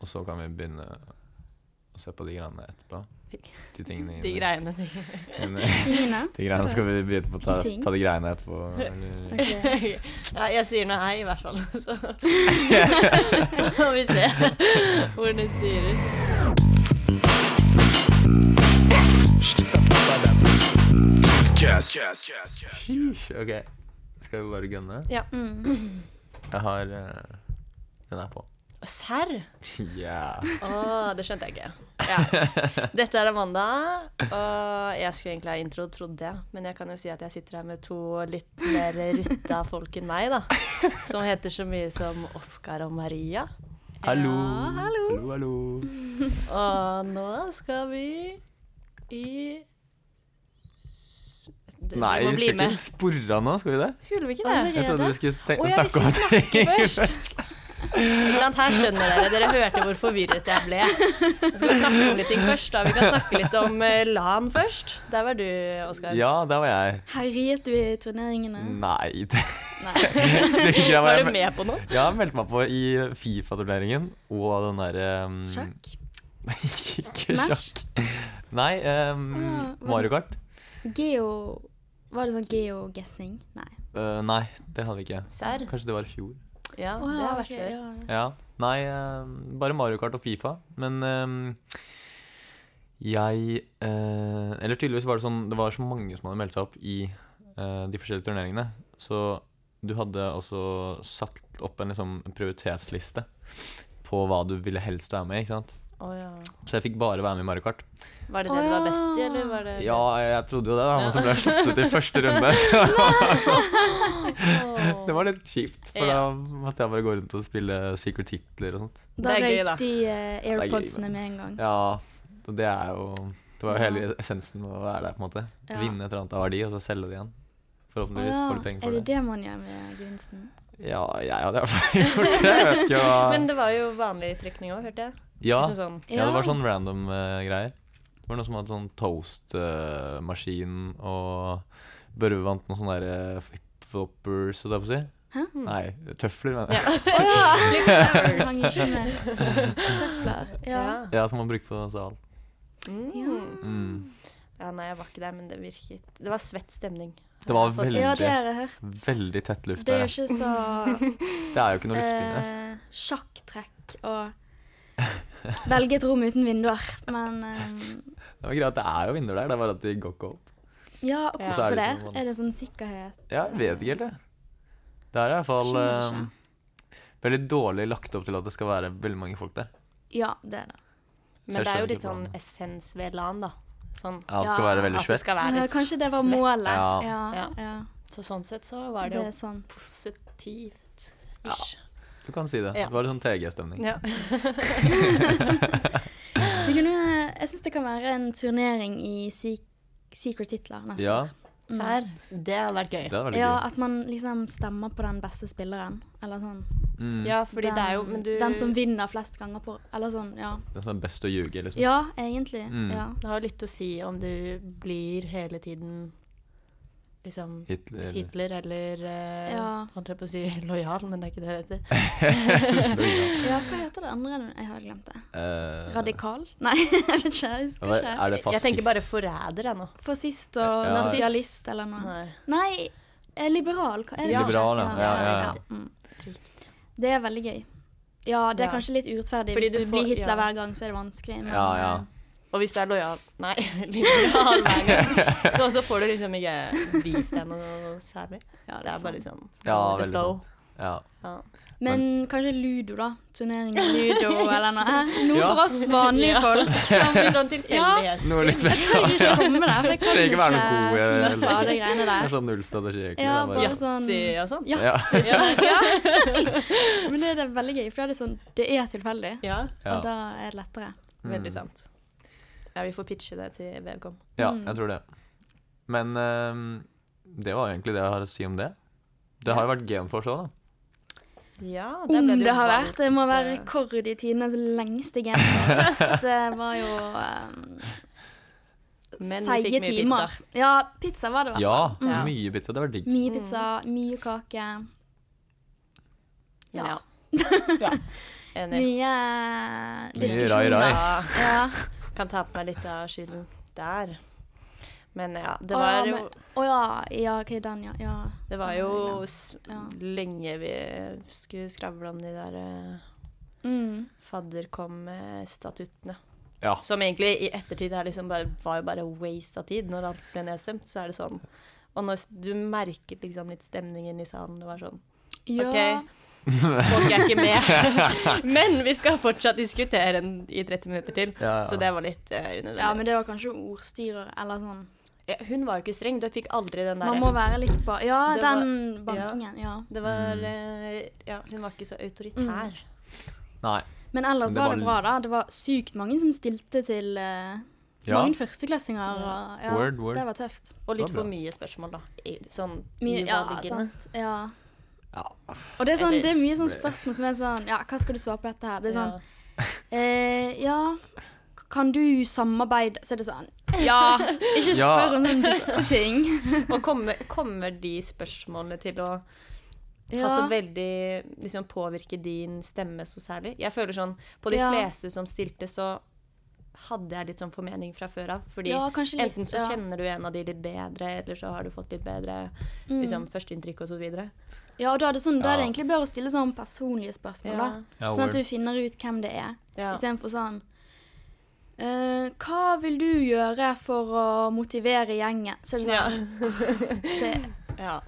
Og så kan vi begynne å se på de greiene etterpå. De tingene eh, De greiene. de- Tingene? De greiene skal vi begynne på å ta, De ting. ta de greiene etterpå. Eller, Ok. ja, jeg sier nå hei, i hvert fall. Så får vi se hvordan det styres. Sheesh, ok. Skal vi bare gunne? Mm. Jeg har eh, Den er på. Serr? Ja. Å, det skjønte jeg ikke. Ja. Dette er Amanda, og jeg skulle egentlig ha intro, trodde jeg. Men jeg kan jo si at jeg sitter her med to litt mer rutta folk enn meg, da. Som heter så mye som Oskar og Maria. Hallo. Ja, hallo. hallo. hallo. Og nå skal vi i Du Nei, må vi bli skal med. ikke spore nå, skal vi det? Skulle vi ikke det? Allerede? Jeg trodde vi skulle tenke, Å, ja, vi snakke om skulle ting snakke først. først. Ikke sant? Her skjønner dere. Dere hørte hvor forvirret jeg ble. Nå skal vi snakke om litt ting først. da. Vi kan snakke litt om eh, LAN først. Der var du, Oskar. Ja, der var jeg. Herjet du i turneringene? Nei. Det, Nei. det gikk jeg Var du med- med på noe? Jeg har meldt meg på i Fifa-turneringen og den derre um, Sjakk? Ikke sjakk. Smash? Nei, um, Ah, hva- Mario Kart. Geo Var det sånn geo-guessing? Nei. Eh, nei, det hadde vi ikke. Serr? Kanskje det var i fjor. Ja, Å, det har vært ok, gøy. ja. Ja. Nei, eh, bare Mario Kart og Fifa. Men eh, jeg eh, Eller tydeligvis var det sånn Det var så mange som hadde meldt seg opp i eh, de forskjellige turneringene. Så du hadde også satt opp en liksom, prioritetsliste på hva du ville helst være med i. ikke sant? Å, ja. Så jeg fikk bare være med i Mario Kart. Var det det du var best i, eller var det Ja, jeg trodde jo det, da, men så ble jeg slått ut i første runde. Så det var, sånn, Å. det var litt kjipt, for da måtte jeg bare gå rundt og spille Secret Hitler og sånt. Da Det er gøy, da. røyk de eh, er gøy, airpodsene med en gang. Ja, og det er jo Det var jo Mm. Ja. hele essensen med å være der, på en måte. Ja. Vinne et eller annet av verdi, og så selge det igjen. Å Forhåpentligvis ja. får du penger Er for det det. det man gjør med gevinsten? Ja, jeg hadde i hvert fall gjort det. Jeg vet ikke hva Men det var jo vanlig trekning òg, hørte jeg. ja. Liksom sånn. ja, det var sånn random eh, greier. Det var noen som hadde sånn toastmaskin, og Børve vant noen sånne der, eh, flip-floppers, holdt jeg på å si. Hæ? Nei, tøfler, mener jeg. Ja. Å ja! Jeg hang ikke med. Søfler. Ja. Ja. som man bruker på sal. Mm. Mm. ja, nei, jeg var ikke der, men det virket Det var svett stemning. Det var Jeg har fått- veldig- ja, det har jeg hørt. Veldig tett luft Mm. Det er der. jo ikke så ja. Det er jo ikke noe luft inne. eh, sjakktrekk og velge et rom uten vinduer. Men eh, Det var greit, det er jo vinduer der, det er bare at de går ikke opp. Ja. ja, Så er hvorfor det det? sånn vans- Er det sånn sikkerhet? Ja, jeg vet ikke helt, jeg. Det er i hvert fall Skjønner ikke. eh, veldig dårlig lagt opp til at det skal være veldig mange folk der. Ja, det er det. Så jeg Men det er jo skjønner litt ikke sånn hvordan- essens ved LAN, da. Sånn Ja, det skal Ja, være veldig at det svett. skal være Ja, litt kanskje det var svett. målet. Ja. Ja, ja, Ja. Så sånn sett så var det Det jo er sånn. sant. positivt. Ish. Du kan si det. Ja. Det var litt sånn TG-stemning. Ja. Det kunne, jeg syns det kan være en turnering i sik secret hitler neste Ja, år. Serr. Det hadde vært det gøy. er veldig Ja, gøy. at man liksom stemmer på den beste spilleren. Eller sånn. Mm. Ja, fordi det er jo Men du Den som vinner flest ganger på Eller sånn, ja. Den som er best å ljuge, liksom. Ja, egentlig. Mm. Ja. det har jo litt å si om du blir hele tiden liksom Hitler. Hitler eller eh, Ja. Holdt jeg på å si lojal, men det er ikke det det heter. ja, hva heter det andre? Jeg har glemt det. Eh, Radikal? Nei, jeg vet ikke. Jeg husker hva- ikke. er det Jeg tenker bare fascist? forræder, jeg nå. Fascist og Ja. sosialist eller noe. Nei. Nei, eh, liberal. Hva er det? Ja. Liberal, ja. Ja, ja, ja. Mm. Det er veldig gøy. Ja, det er Ja. kanskje litt urettferdig. Fordi Hvis du, du får- blir Hitler ja. hver gang, så er det vanskelig. Men, Ja, ja. eh, Og hvis du er lojal Nei, lojal hver gang, så, så får du liksom ikke vist deg noe særlig. ja, Det er bare sant. litt sånn Ja, with the veldig flow. sant. Ja. Ja. Men kanskje ludo, da. Turnering i ludo eller noe. Eh, Noe Ja. for oss vanlige folk. Som, Litt sånn tilfeldighet. Noe litt jeg best. trenger ikke komme med det, for jeg kan Trenger ikke ikke være noe god, eh, FIFA og de greiene Det er der. sånn null strategi, egentlig. Ja, det er bare bare... sånn Yatzy og sånn. Ja, Ja. ja. Men det er det veldig gøy, for da er det sånn Det er tilfeldig, Ja, Ja. og da er det lettere. Mm. veldig sant. Ja, vi får pitche det til Webcom. Ja, Mm. jeg tror det. Men ehm, det var egentlig det jeg har å si om det. Det har jo vært genforsk òg, da. Ja, der Om ble det jo har valgt, vært Det må være eh, rekord i tidenes lengste genforest. Det var jo um, Men vi fikk mye Ja, pizza var det, vel. Ja, Mm. Ja. mye bytte. Det var digg. Mye Mm. pizza, mye kake. Ja. Ja. Enig. Mye rai, rai. diskusjoner. Ja, Ja. kan ta på meg litt av skylden der. Men ja, det Å, var ja, jo men- Å ja. Ja, OK, den, ja. ja. Det var den jo regnet. s Ja. lenge vi skulle skravle om de der eh, Mm. fadderkom-statuttene. Ja. Som egentlig i ettertid er liksom bare, var jo bare waste av tid. Når alt ble nedstemt, så er det sånn. Og når s- du merket liksom litt stemningen i salen, det var sånn Ja. Ok. Folk er ikke med. Men vi skal fortsatt diskutere den i 30 minutter til. Ja, ja. Så det var litt eh, ja, unødvendig. men det var kanskje ordstyrer eller sånn. Ja, Hun var jo ikke streng. Du fikk aldri den Man må derre være litt på Ja, Det var- den bankingen. Ja. Det var Mm. eh, Ja, hun var ikke så autoritær. Nei. Men ellers Det var, var det bra, da. Det var sykt mange som stilte til eh, Ja. mange førsteklassinger. Og, ja, Word, word. Det var tøft. Og litt Det var for bra. mye spørsmål, da. I- Sånn Mye, ja, uvaliggende. sant. Ja. Ja. Og det er, sånn, Eller- det er mye sånn spørsmål som er sånn Ja, hva skal du svare på dette her? Det er sånn Ja. eh, Ja, k- kan du samarbeide Så er det sånn Ja! Ikke Ja. spør om sånne duste ting. Og kommer, kommer de spørsmålene til å Ja. altså veldig, liksom, påvirke din stemme så særlig? Jeg føler sånn, På de Ja. fleste som stilte, så hadde jeg litt sånn formening fra før av. Fordi Ja, kanskje litt, enten så ja. kjenner du en av de litt bedre, eller så har du fått litt bedre liksom, førsteinntrykk og så videre. Mm. Ja, og da er det sånn, da er det Ja. egentlig bare å stille sånn personlige spørsmål, Ja. da. Ja, Sånn at word. du finner ut hvem det er, Ja. istedenfor sånn eh, Hva vil du gjøre for å motivere gjengen? Så er det Ja. sånn det, ja.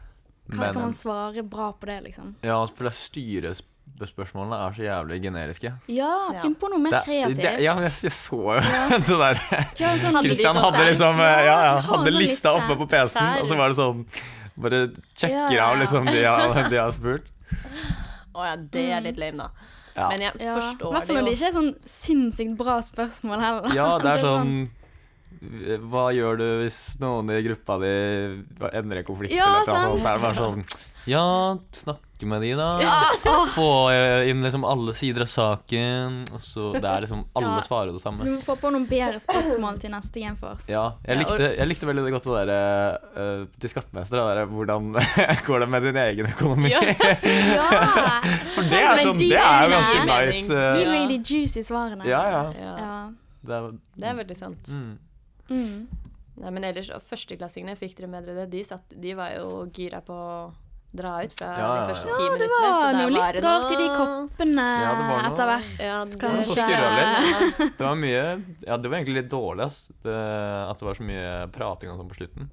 Hva skal Men- man svare bra på det, liksom? Ja, altså, og spør- styrespørsmålene er så jævlig generiske. Ja, Ja. finn på noe mer Det- det- kreativt. ja, men jeg, jeg så jo det der. Ja, en sånn- Kristian hadde der. liksom eh, ja, ja, hadde lista oppe oppe på PC-en, og så var det sånn Bare Ja, sjekker ja. av liksom de jeg de jeg har spurt. Å ja, det er litt lame, da. Ja. Men jeg Mm. Ja. I forstår hvert fall det når det jo. ikke er sånn sinnssykt bra spørsmål heller. ja, det er sånn eh, Hva gjør du hvis noen i gruppa di endrer konflikt? Ja, eller noe sånt? Så er det bare sånn Ja, snakke med de, da. Få eh, inn liksom alle sider av saken. Og så Det er liksom Alle Ja. svarer det Vi samme. må få på noen bedre spørsmål til neste Game Force. Ja, jeg Ja, og- likte, jeg likte veldig godt det der eh, til skattemester. Det der, hvordan går det med din egen økonomi? Ja. Ja! For det er, Men sånn, de det er jo tingene- ganske nice. eh, Gi Ja. meg de juicy svarene. Ja, ja. Ja, Ja. Det er, det er veldig sant. mm. Mm. Nei, men ellers, og Førsteklassingene fikk dere med dere det. De, satt, de var jo gira på å dra ut fra Ja, ja, de første ja. ti ja, det minuttene. så var der noe litt det rart i de noe- koppene Ja, det var noe- etter hvert. Ja, Kanskje. Så skurrer Ja. Det var mye Ja, det var egentlig litt dårlig, ass. Det, at det var så mye prating og sånn på slutten.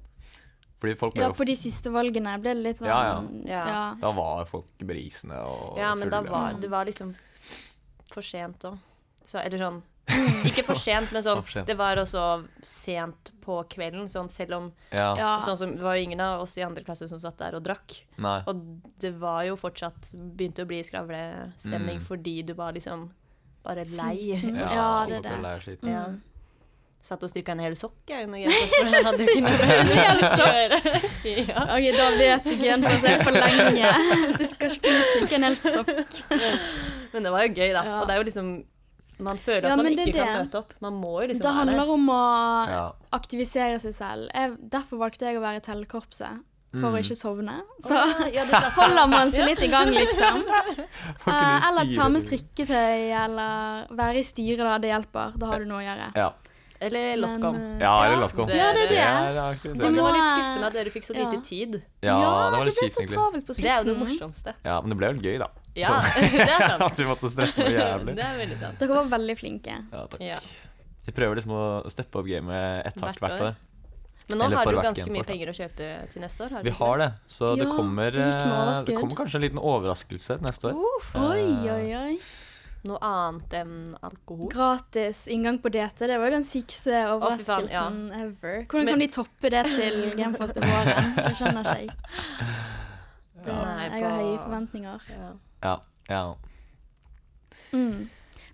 Fordi folk ble Ja, jo på de siste valgene ble det litt sånn Ja, ja. ja. Da var folk brisende og ja, men da fulle. var det var liksom for sent òg. Så, eller sånn Ikke for sent, men Det sånn var for sent. Det var også sent på kvelden, sånn selv om ja. Ja. sånn som, Det var jo ingen av oss i andre klasse som satt der og drakk. Nei. Og det var jo fortsatt Begynte å bli skravlestemning Mm. fordi du var liksom bare lei. Sliten. Ja, Ja, det folk er ble det. lei og sliten. Ja. Satt og strikka en hel sokk, jeg. under genser, for jeg hadde ikke noe En hel å gjøre. ja. Ok, da vet du Game Force er for lenge. Du skal ikke kunne strikke en hel sopp. Men det var jo gøy, da. Ja. Og det er jo liksom Man føler Ja, at man men det er ikke kan det. møte opp. Man må jo liksom Det handler om å Ja. aktivisere seg selv. Jeg, derfor valgte jeg å være i tellekorpset, for Mm. å ikke sovne. Så være der. Ja, du satt holder man seg litt i gang, liksom. Får ikke Eh, du eller ta styre med det? strikketøy, eller være i styret, da. Det hjelper. Da har du noe å gjøre. Ja. Eller Lotcom. Men, eh, ja, Ja, eller Lascom. det- Ja, det er Det det. aktiviserende. må- var litt skuffende at dere fikk så Ja. lite tid. Ja, det var det litt ble kjipt, så egentlig. travelt på slutten. Det er jo det morsomste. Ja, men det ble jo gøy, da. Ja, det er sant. At vi måtte stresse noe Det jævlig. er veldig sant. Dere var veldig flinke. Ja, takk. Ja. Vi prøver liksom å steppe opp gamet ett Hvert hardt hvert år. år. Men nå Eller har for du hvert ganske mye genfort, da. penger å kjøpe til neste år. Vi ikke har det, så det, Ja, kommer, det gikk med eh, det overskudd. kommer kanskje en liten overraskelse neste år. Oi, oi, oi. Noe annet enn alkohol. Gratis inngang på DT. Det var jo den Å, fy sykeste faen, ja. overraskelsen ever. Hvordan Men- kan de toppe det til Genfast i våren? Det skjønner ikke jeg. Det- Nei, Jeg har på- høye forventninger. Ja. Ja, ja. Mm.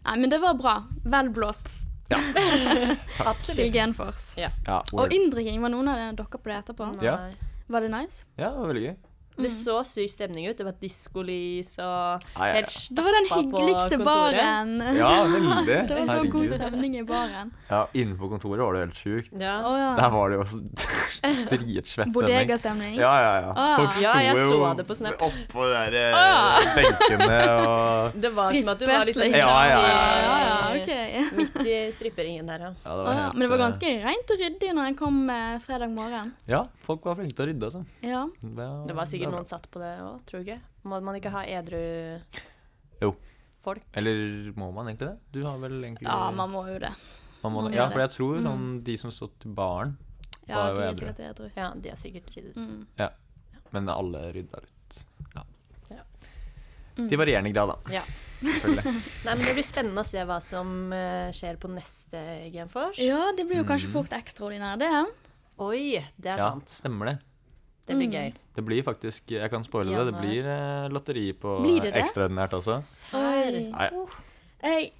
Nei, men det var bra. Vel blåst til Absolutt. Genfors. ja Og word. inndrikking var noen av dere på det etterpå. Nei. Ja. Var det nice? Ja, det var veldig gøy. Det Mm. så syk stemning ut. Det var diskolys og Ja, ja, ja. helt Det var den stappa på hyggeligste kontoret. baren. Ja, veldig. Det var så Herregud. god stemning i baren. Ja, inne på kontoret var det helt sjukt. Ja. Å ja. Der var det jo så dritsvett stemning. Bodegastemning. Ja, ja, ja. Ah. Folk sto Ja, jeg jo så det på Snap. oppå de der eh, Ah. benkene og Det var som at du var liksom Strippet, Ja, ja, ja, Ja, ja, ja, ok. midt i stripperingen der, ja. ja, det Å, ja. helt, Men det var eh, ganske rent og ryddig når jeg kom eh, fredag morgen. Ja, folk var flinke til å rydde, altså. Ja. Det var sikkert noen satt på det òg, tror du ikke? Må man ikke ha edru Jo. folk? Eller må man egentlig det? Du har vel egentlig ja, man må jo det. man må man det. må Ja, det. for jeg tror sånn Mm. de som stod til baren, Ja, Var jo de er edru. sikkert edru. Ja, de har sikkert ryddet. Mm. men alle rydda litt. Ja. Ja. Til varierende grad, da. Ja. Selvfølgelig. Nei, men Det blir spennende å se hva som eh, skjer på neste Genfors. Ja, det blir jo Mm. kanskje fort ekstraordinær, det. Oi, det er Ja, sant. stemmer det. Det Mm. blir gøy. Det blir faktisk Jeg kan spoile det. Det Januar. blir eh, lotteri på Blir det det? ekstraordinært også. Her. Oi. Nei, Jeg,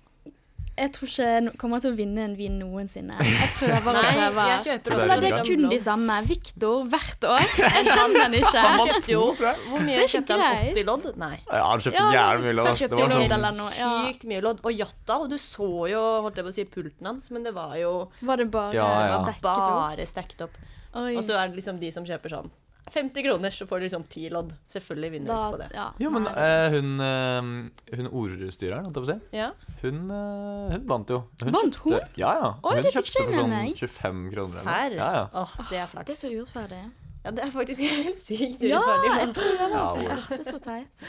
jeg tror ikke jeg no- kommer til å vinne en vin noensinne. Jeg prøver og Nei, prøver. jeg Jeg kjøper Jeg det er føler det så er kun de samme. Viktor hvert år. Jeg skjønner Han den ikke. kjøpte jo Hvor mye ikke kjøpte han? greit. 80 lodd? Nei. Ja, han kjøpte Ja, jævlig mye han lås. kjøpte Det var jo sånn lodd. eller noe, ja. Sykt mye lodd. Og jatta. Og du så jo holdt jeg på å si, pulten hans, men det var jo Var det bare Ja, ja. stekket opp? bare stacket opp. Oi. Og så er det liksom de som kjøper sånn 50 kroner, så får du liksom 10 lodd. Selvfølgelig vinner Da, du ikke på det. ja. Jo, men Nei. eh, hun, eh, hun ordstyreren, holdt jeg på å si, Ja. hun, eh, hun vant jo. Hun Vant hun? kjøpte- Ja, ja. Oi, hun det fikk kjøpte ikke jeg for sånn med meg. 25 kroner. eller noe. Serr? Ja, ja. Åh, det er Det er flaks. så urettferdig. Ja, det er faktisk helt sykt Ja, urettferdig. jeg prøver. Ja, Ja, hvor- det er så teit.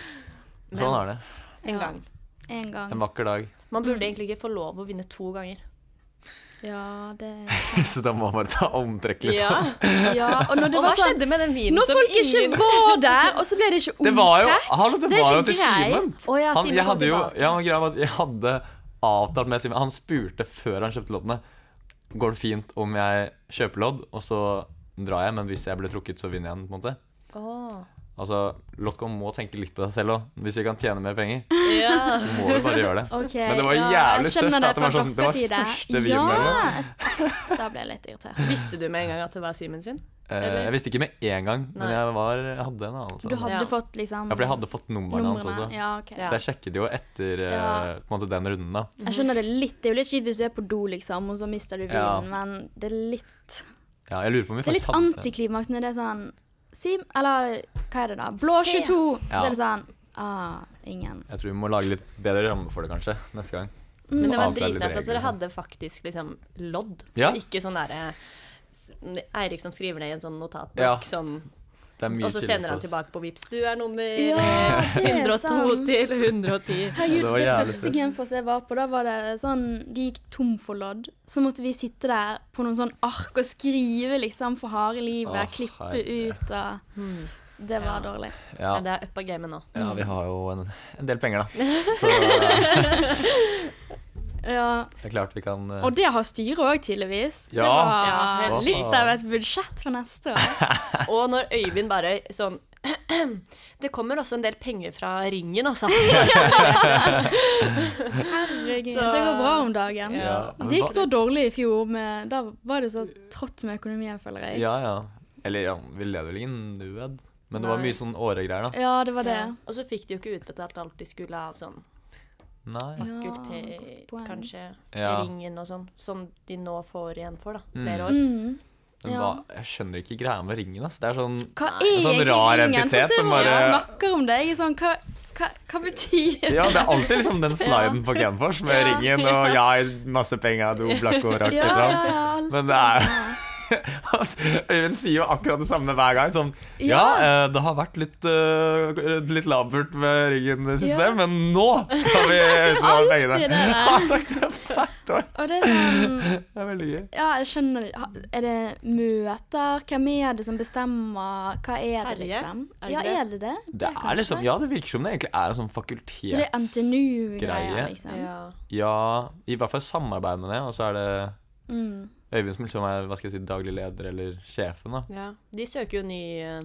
sånn er det. En Ja. gang. En gang. En vakker dag. Man burde egentlig ikke få lov å vinne to ganger. Ja, det Så da må man bare ta omtrekk, liksom. Ja. Ja, og når det Og hva var sånn skjedde med den vinen Når som folk ikke var der, og så ble det ikke Det var jo, omtrekk hallo, det Det er var jo ikke til greit. Simen. Å ja, Han- Simen jeg kom hadde jo- tilbake. Ja, men greia var at jeg hadde avtalt med Simen. Han spurte før han kjøpte loddene Går det fint om jeg kjøper lodd, og så drar jeg, men hvis jeg blir trukket, så vinner jeg den. på en måte Åh. Altså, Lotko må tenke litt på deg selv òg. Hvis vi kan tjene mer penger, Ja. så må du bare gjøre det. Ok, Men det var ja, jævlig jeg skjønner søst at det fra var sånn- det deres var side. første vinen Ja, eller jeg- da ble jeg litt irritert. Visste du med en gang at det var Simen sin? Eh, jeg visste ikke med en gang, men Nei. jeg, var, jeg hadde en anelse. Du om det. hadde Sånn, Ja. fått liksom Ja, for jeg hadde fått nummeret hans også. Ja, ok. Ja. Så jeg sjekket jo etter eh, Ja. på en måte den runden, da. Jeg skjønner det litt. Det er jo litt kjipt hvis du er på do, liksom, og så mister du vinen, Ja. men det er litt Ja, jeg lurer på om vi Det er faktisk litt antiklimaks når det er sånn Sim, eller hva er det da? Blå Se. 22! Ja. Så er det sånn Ah, ingen. Jeg tror vi må lage litt bedre ramme for det, kanskje, neste gang. Men det var Og avklare litt dritnice at dere regler. hadde faktisk liksom lodd. Ja. Ikke sånn derre s- Eirik som skriver ned i en sånn notatbok, Ja. sånn, Det er mye og så chillere sender han for oss. tilbake på Vipps. Du er nummer Ja, det er 102 sant. til 110. Det Herregud, var det, jævlig første stress. Genfos jeg var på, da var det sånn De gikk tom for lodd. Så måtte vi sitte der på noen sånn ark og skrive liksom for harde livet. Åh, klippe herre. ut og Det var dårlig. Ja. Nei, Det er uppa gamet nå. ja, vi har jo en, en del penger, da. Så Ja. det er klart vi kan eh, Og det har styret òg, tydeligvis. Ja. Ja, Det var helt litt av et budsjett for neste år. Og når Øyvind bare sånn Det kommer også en del penger fra ringen, altså. Ja, Herregud. Så- Det går bra om dagen. Ja. Det gikk så dårlig i fjor. Med, da var det så trått med økonomien, føler jeg. Ja, ja. Eller ja, vi leder vel ingen nød. Men det var Nei. mye sånn åregreier, da. Ja, det var det. Og så fikk de jo ikke utbetalt alt de skulle av sånn Nei. Ja, fakultet, godt poeng. kanskje Ja. ringen og sånn, som de nå får igjen for, da. Mm. Flere år. Mm. Men hva, jeg skjønner ikke greia med ringen, ass. Det er sånn Hva Nei, er en sånn egentlig rar ringen? entitet Folk som driver og bare- snakker om det. Jeg er sånn, hva, hva, hva betyr det? Ja, det er alltid liksom den sliden på Genfors med Ja. ringen og ja, masse penger, do, blakk og rakk Ja, et ja, eller ja, annet. alt Men det er- sånn. Altså, Øyvind sier jo akkurat det samme hver gang. Sånn Ja, eh, det har vært litt, eh, litt labert med ryggen det siste, Ja. men nå skal vi utbetale Alltid pengene. det der. Han har sagt det hvert år. Og det er sånn, Det er veldig gøy. ja, jeg skjønner det. Ha- Er det møter? Hvem er det som bestemmer? Hva er det, Terje? liksom? Er det Ja, det? er det det? Det er liksom, ja, det virker som det egentlig er en sånn Så det er fakultets... NTNU-greier, greie. liksom? Ja, i hvert fall samarbeid med det, og så er det Mm. Øyvind som liksom er hva skal jeg si, daglig leder eller sjefen, da. Ja. De søker jo ny eh,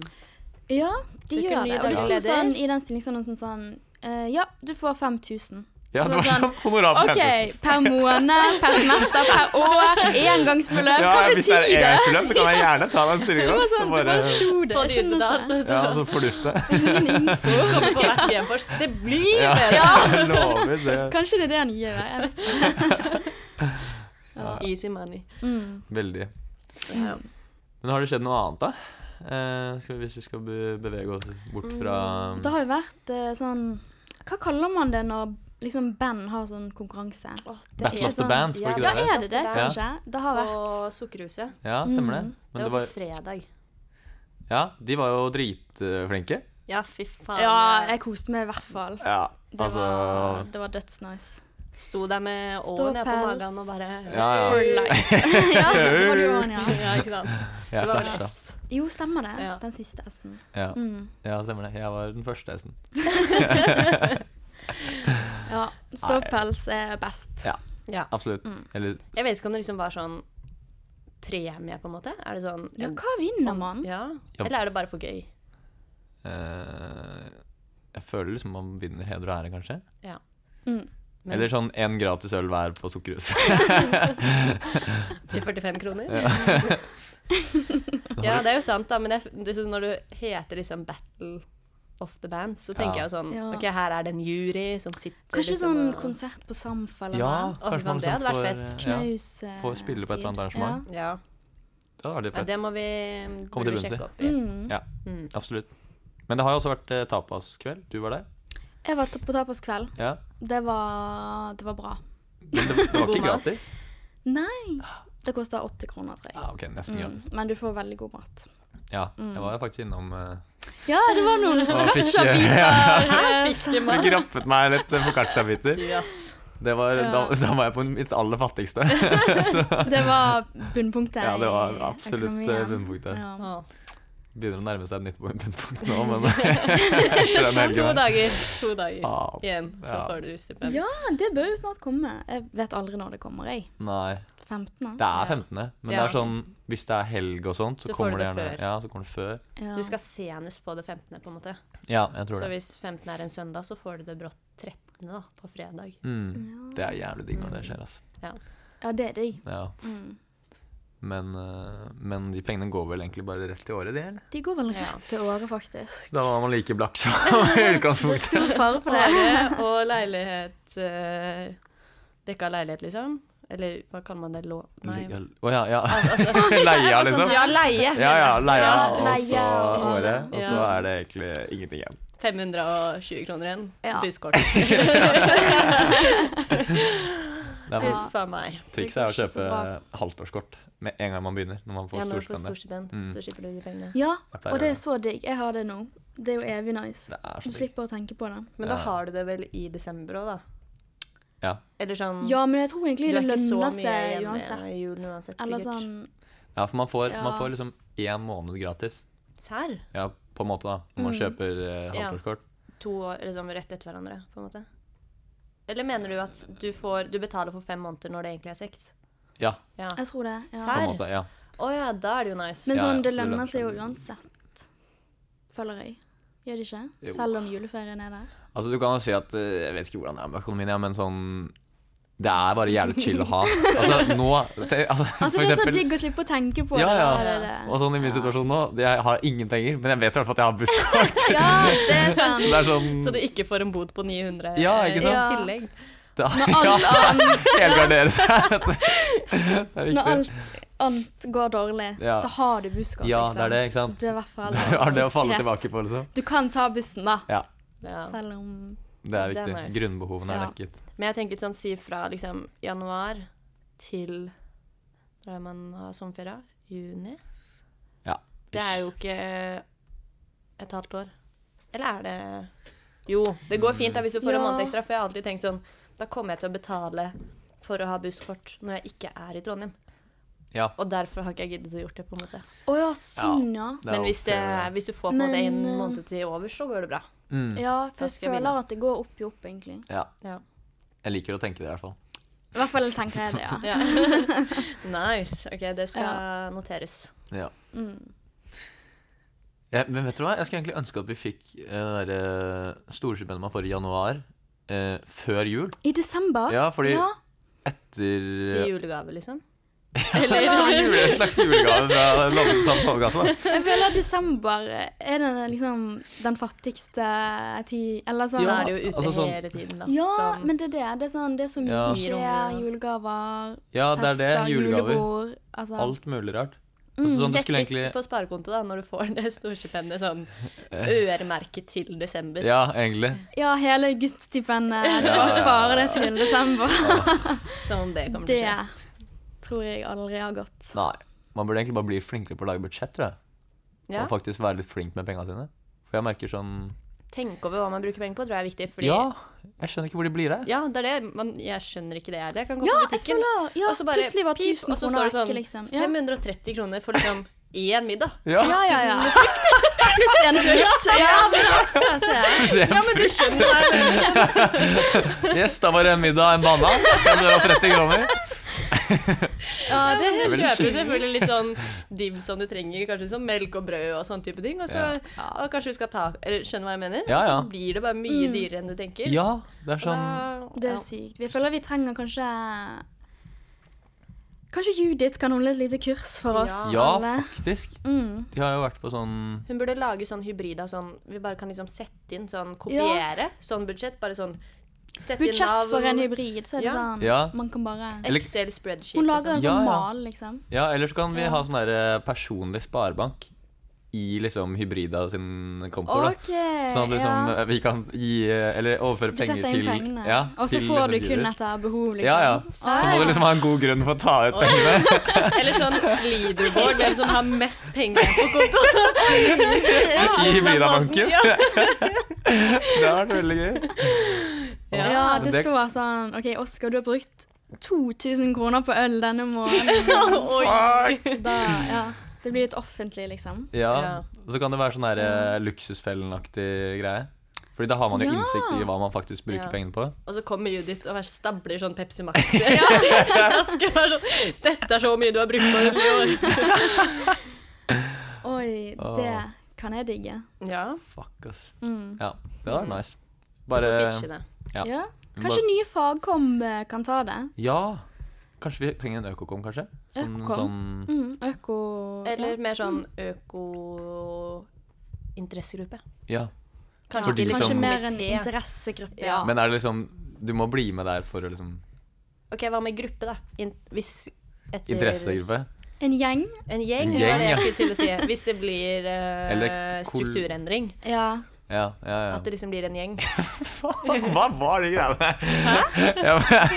Ja, de Søker gjør ny det. Og det sto daglig leder. sånn i den stillingsannonsen sånn eh, Ja, du får 5000. Ja, det var Sånn- sånn honorar på OK, fremtiden. per måned, per semester, per år, engangsbeløp. Ja, ja, Hva hvis det betyr er det? engangsbeløp, så kan jeg gjerne ta den Det stillinga. var sånn, det bare sto det. På Jeg skjønner ikke. dybden. Ja, så fordufte. Ingen info. Kommer på hvert hjem først. Det blir Ja. bedre. Jeg Lover det. Kanskje det er det han gjør. Jeg vet ikke. Easy money. Mm. Veldig. Ja. Men har det skjedd noe annet, da? Eh, skal vi, hvis vi skal be bevege oss bort fra Det har jo vært eh, sånn Hva kaller man det når liksom band har sånn konkurranse? Battle of ikke the sånn- Bands, var det Ja, ikke det? er det det, Ja. kanskje? Det har vært På Sukkerhuset. Ja, stemmer det. Mm. Men Det det var var, på fredag. ja, de var jo dritflinke. Ja, fy faen. Ja, jeg koste meg i hvert fall. Ja, Det altså var, det var dødsnice. Sto der med Ståpels. åen jeg, på magen og bare Ja, ja. For life. ja, det var det jo han, ja. Ja, ikke sant. Jeg Det var flasha. ass. Jo, stemmer det. Ja. Den siste S-en. Ja. Mm. ja, stemmer det. Jeg var den første hesten. Ja. Ståpels er best. Ja. Ja. Absolutt. Mm. Eller Jeg vet ikke om det liksom var sånn premie, på en måte. Er det sånn Ja, hva vinner man? Ja. Ja. Eller er det bare for gøy? eh, Jeg føler liksom man vinner heder og ære, kanskje. Mm. Men- Eller sånn én gratis øl hver på Sukkerhuset. Til 45 kroner? Ja. det er jo sant, da, men jeg, det synes når du heter liksom Battle of the Bands, så Ja. tenker jeg jo sånn Ja. OK, her er det en jury som sitter Kanskje liksom, sånn og- konsert på Samf eller ja, noe? kanskje Å, man men det liksom hadde vært får fett. ja, Knaus. eh, Får spille på et eller annet tid. arrangement. Ja. Det hadde vært litt Nei, fett. det må vi Komme til burde vi bunns i. sjekke opp Ja. i. Mm. Mm. Absolutt. Men det har jo også vært eh, tapaskveld. Du var der. Jeg var på Tapaskveld. Ja. Det var, det var bra. Men det, det var God ikke mat. gratis. Nei. Det kosta 80 kroner, tror jeg. Ja, ok, nesten Mm, gratis. men du får veldig god mat. Ja, jeg var jo faktisk innom eh, Ja, det var noen Og fikk- foccaccia-biter. Fikk rappet meg litt foccaccia-biter. Yes. Det var, Ja. da, da var jeg på mitt aller fattigste. Det var bunnpunktet. Ja, det var i absolutt, økonomien. eh, bunnpunktet. Ja. Å. Begynner å nærme seg et nytt bunnpunkt nå, men etter den Så to helgen dager. To dager Faen. igjen, så Ja. får du stipend. Ja, det bør jo snart komme. Jeg vet aldri når det kommer, jeg. Nei, 15. det er 15., men det Ja. er sånn hvis det er helg og sånt, så, Så får kommer du det det gjerne før. Ja, så kommer det før. Ja. Du skal senest få det 15., på en måte. Ja, jeg tror Så det. hvis 15 er en søndag, så får du det brått 13. da, på fredag. Mm. ja. Det er jævlig digg når det skjer, altså. ja, det er digg. Ja. Mm. Men, eh, men de pengene går vel egentlig bare rett i året, de, eller? De går vel Ja. rett til året, faktisk. Da var man like blakk som i Det er utgangspunktet. stor fare for det. Året og leilighet eh, Dekka leilighet, liksom? Eller hva kaller man det? Lå... Nei. Å ja, ja. Altså, altså, Leia, liksom. ja, leie. Ja, ja, leia, Ja, og så leia og havet. året. Og så Ja. er det egentlig ingenting igjen. 520 kroner igjen. Ja. Busskort. Det er Ja. vel, Uff a meg. trikset er å Det går ikke så kjøpe halvtårskort med en gang man begynner, når man Ja, får når du får storspennet. storstipend, Mm. så slipper du de pengene. Ja, Jeg pleier og det å er så digg. Jeg har det nå. Det er jo evig gjøre nice. det. Det er Du så digg. slipper å tenke på det. Men da Ja. har du det vel i desember òg, da? Ja. Eller sånn Ja, men jeg tror egentlig Du det er ikke så lønner mye seg hjemme uansett. i julen uansett, Eller sikkert. sånn ja, for man får, man Ja. får liksom én måned gratis. Serr? Ja, på en måte, da. Når man Mm. kjøper eh, Ja. halvtårskort. To år liksom, rett etter hverandre, på en måte? Eller mener du at du, får, du betaler for fem måneder når det egentlig er seks? Ja, Ja. Jeg tror det. ja. på Her? en måte. Ja. Å ja, da er det jo nice. Men Ja, sånn, ja, det så det lønner lønner seg jo seg. uansett, føler jeg. Gjør det ikke? Jo. Selv om juleferien er der. Altså, du kan jo si at eh, Jeg vet ikke hvordan det er med økonomien, ja, men sånn Det er bare jævlig chill å ha. Altså, nå te, altså, Altså, for det er så eksempel- digg å slippe å tenke på Ja, det. ja. det, det, Og sånn i min situasjon nå, jeg har ingen penger, men jeg vet i hvert fall at jeg har busskort. det. Ja, det er sant. Så det er sånn Så du ikke får en bod på 900 Ja, eh, ikke sant? i tillegg? da- Når alt ja, Helgardere annet, seg. vet du. Det er når viktig. alt annet går dårlig, Ja. så har du busskort. Ja, liksom. det er det, ikke sant? Det er i hvert fall Det er det å falle sikkerhet. tilbake på, liksom. Du kan ta bussen, da. Ja, Ja. Selv om det er Det er viktig. nice. Grunnbehovene er Ja. dekket. Men jeg tenker sånn, si fra liksom, januar til Da er man har sommerferie? Juni? Ja. Det er jo ikke et halvt år. Eller er det Jo, det går fint da hvis du får en Ja. måned ekstra, for jeg har alltid tenkt sånn Da kommer jeg til å betale for å ha busskort når jeg ikke er i Trondheim. Ja. Og derfor har ikke jeg giddet å gjort det. på en måte. Å ja, sånn, ja. Det er Men jo hvis, det, fair. hvis du får på en måte en Men, eh, måned til over, så går det bra. mm. Ja, for Da jeg skal jeg begynne. føler at det går opp i opp, egentlig. ja. Ja. Jeg liker å tenke det, i hvert fall. I hvert fall tenker jeg det, ja. Ja. nice. Ok, det skal noteres. Ja. Mm. Ja, men vet du hva? Jeg skulle egentlig ønske at vi fikk eh, det derre storstipendet man eh, får i januar, eh, før jul. I desember? Ja, fordi Ja. etter Til julegave, liksom. Det er som en jule- en slags julegave fra London Sandalgata. Jeg føler desember er den liksom den fattigste tid Eller sånn Da Ja, er det jo ute altså sånn- hele tiden, da. Ja, Sånn- men det er det. Det er, sånn, det er så mye Ja. som Gir om skjer. det. Julegaver, Ja, det er det. fester, Julegaver. julebord. Altså. Alt mulig rart. Altså, sånn, det Sett skulle litt egentlig Mm, på sparekonto da, når du får det storstipendet sånn øremerket til desember. Ja, egentlig. Ja, hele auguststipendet. Du Ja, kan ja, spare ja, det til desember. Som det kommer Det til å skje. tror jeg aldri har gått. Nei. Man burde egentlig bare bli flinkere på å lage budsjett, tror jeg. Ja. Og faktisk være litt flink med pengene sine. For jeg merker sånn Tenk over hva man bruker penger på, tror jeg er viktig. Fordi, Ja, jeg skjønner ikke hvor de blir av. Ja, det er det. Man, jeg skjønner ikke det heller. Jeg kan gå Ja, på jeg butikken, føler ja, og så bare Plutselig var pip, 1000 og så kroner står det vekke, sånn liksom. Ja. 530 kroner for liksom én middag. Ja. ja, ja. Pluss en frukt. Ja, men akkurat det. Ja, men du skjønner hva jeg mener. Yes, da var det en middag, en banan. 130 kroner. Ja, Du det er veldig kjøper jo sykt. selvfølgelig litt sånn dibb som du trenger, kanskje som melk og brød og sånn type ting. Og så og kanskje du skal ta Eller skjønner hva jeg mener? Ja, ja. Og så blir det bare Mm. mye dyrere enn du tenker. Ja, det er Og da, sånn Det er sykt. Vi føler vi trenger kanskje Kanskje Judith kan holde et lite kurs for oss Ja, alle. faktisk. Mm. De har jo vært på sånn Hun burde lage sånn hybrid av sånn Vi bare kan liksom sette inn sånn kopiere sånn budsjett. Bare sånn sette inn Budsjett navn. for en hybrid, så er det Ja. sånn Ja. Man kan bare Eller- Excel spreadsheet. Hun lager en Ja, ja. sånn mal, liksom. Ja, ellers kan vi Ja. ha sånn der eh, personlig sparebank i liksom Hybrida sin konto, da. OK. Sånn at liksom, ja. eh, vi kan gi eh, Eller overføre Du penger setter til inn pengene, ja, og så til får du liksom kun Judith. etter behov, liksom. Ja, ja. Så, Så må du liksom ha en god grunn for å ta ut pengene. Eller sånn leaderboard. Hvem som har mest penger på kontoen. I Hybrida-banken. Ja. Det har vært veldig gøy. Ja. Ja, det Det- står sånn OK, Oskar, du har brukt 2000 kroner på øl denne måneden. Oi. Da, ja. Det blir litt offentlig, liksom. Ja. Ja. Og så kan det være sånn der eh, luksusfellen-aktig greie. Fordi da har man jo Ja. innsikt i hva man faktisk bruker Ja. pengene på. Og så kommer Judith og bare stabler sånn Pepsi Max. Asker var sånn, Dette er så mye du har brukt på i år. Oi, det kan jeg digge. Ja. Fuck, ass. Mm. Ja, det hadde vært nice. Bare Bitche det. Ja. Ja. Kanskje nye fagkom eh, kan ta det. Ja. Kanskje vi trenger en økokom, kanskje? Sånn, Økokom? sånn Mm, øko Eller mer sånn øko... Interessegruppe. Ja. Kanskje For de ikke Kanskje liksom som- mer en komité. interessegruppe. Ja. Men er det liksom Du må bli med der for å liksom Ok, hva med gruppe, da? In hvis etter Interessegruppe? En gjeng. En En gjeng, det var gjeng, det jeg ja. skulle til å si. Hvis det blir eh, Eller et kol- strukturendring. Ja. Ja, ja, ja. At det liksom blir en gjeng. Faen, hva var de greiene? Ja, men-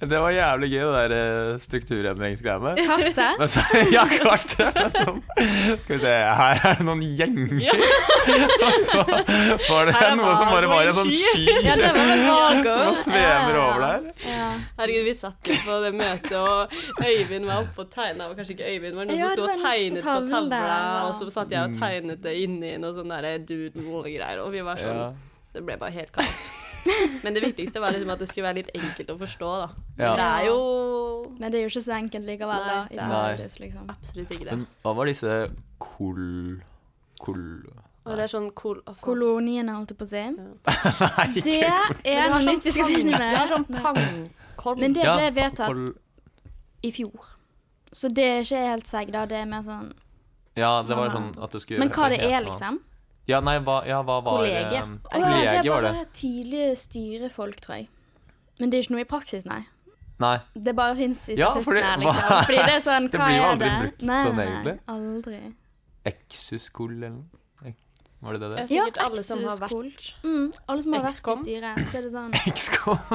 Det var jævlig gøy, det der eh, strukturendringsgreiene. Kartet. Men så, ja, klart det. men Sånn. Skal vi se, her er det noen gjenger. Og så var det Her er noe som bare var en Margot sånn i sky Ja, det var vel Margot. som svever Ja. over der. Ja. Herregud, vi satt jo på det møtet, og Øyvind var oppe og tegna. Og kanskje ikke Øyvind, men noen Ja, som sto og det var en tegnet på tavle der, tavla. ja. Og så satt Mm. jeg og tegnet det inni noe sånn derre doodle-greier, og vi var sånn Ja. Det ble bare helt kaos. Men det viktigste var liksom at det skulle være litt enkelt å forstå, da. Ja. Det er jo Men det er jo ikke så enkelt likevel, da. I Nei, nei. praksis, liksom. absolutt ikke det. Men hva var disse kol... Kol... Og det er sånn cool å, faen. Koloniene, holdt jeg på å si. Nei, ikke Det Men er det noe var sånn nytt vi skal pang- begynne Det var sånn med. pangkorn. Men det Ja, ble vedtatt kol- i fjor. Så det er ikke helt seig, da. Det er mer sånn Ja, det var sånn at du skulle Men hva det helt er, noe annet. liksom? Ja, nei, hva, ja, hva var Kollegie. eh, Å, Å ja, det Kollegie er var det. bare tidlige styrefolk, tror jeg. Men det er ikke noe i praksis, nei. Nei. Det bare fins i Ja, statuttene, fordi- liksom. hva- Fordi det er sånn, Det hva blir jo er aldri det? brukt nei, sånn nei, egentlig. Aldri. Exuskol eller noe? Var det det Det det? er sikkert Ja, alle som har Exo-skol. vært Mm, alle som har vært i Excom. styret, så er det sånn Excom.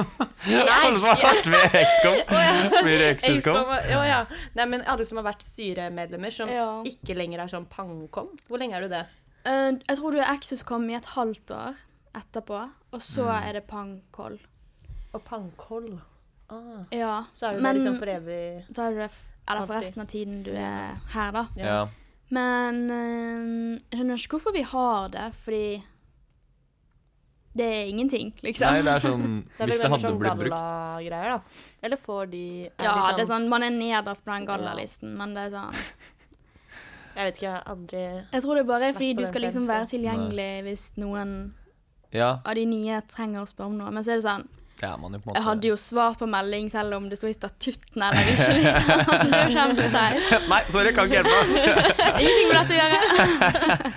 Alle som har vært med i Å, Excom, ja. blir det Excuscom. Excom, Ja, ja. Nei, men alle som har vært styremedlemmer som Ja. ikke lenger er sånn pangkom. Hvor lenge er du det? Eh, Jeg tror du er Exus-kom i et halvt år etterpå, og så Mm. er det pangkoll. Og pangkoll. Ah. Ja. Så er du men det liksom for evig da er du det f eller for resten av tiden du er her, da. Ja. Men eh, jeg skjønner ikke hvorfor vi har det, fordi det er ingenting, liksom. Nei, det er sånn er Hvis vel det mer hadde sånn blitt brukt galla-greier, da. Eller får de er Ja, de det er sånn, man er nederst på den gallalisten, men det er sånn Jeg vet ikke, jeg har aldri Jeg tror det bare er Vært fordi på du den skal selv, liksom så. være tilgjengelig hvis noen Ja, av de nye trenger å spørre om noe. Men så er det sånn det er man jo på en måte. Jeg hadde jo svart på melding selv om det sto i statutten eller ikke, liksom. Det er jo kjempeteit. Nei, sorry, kan ikke hjelpe oss. Ingenting med dette å gjøre.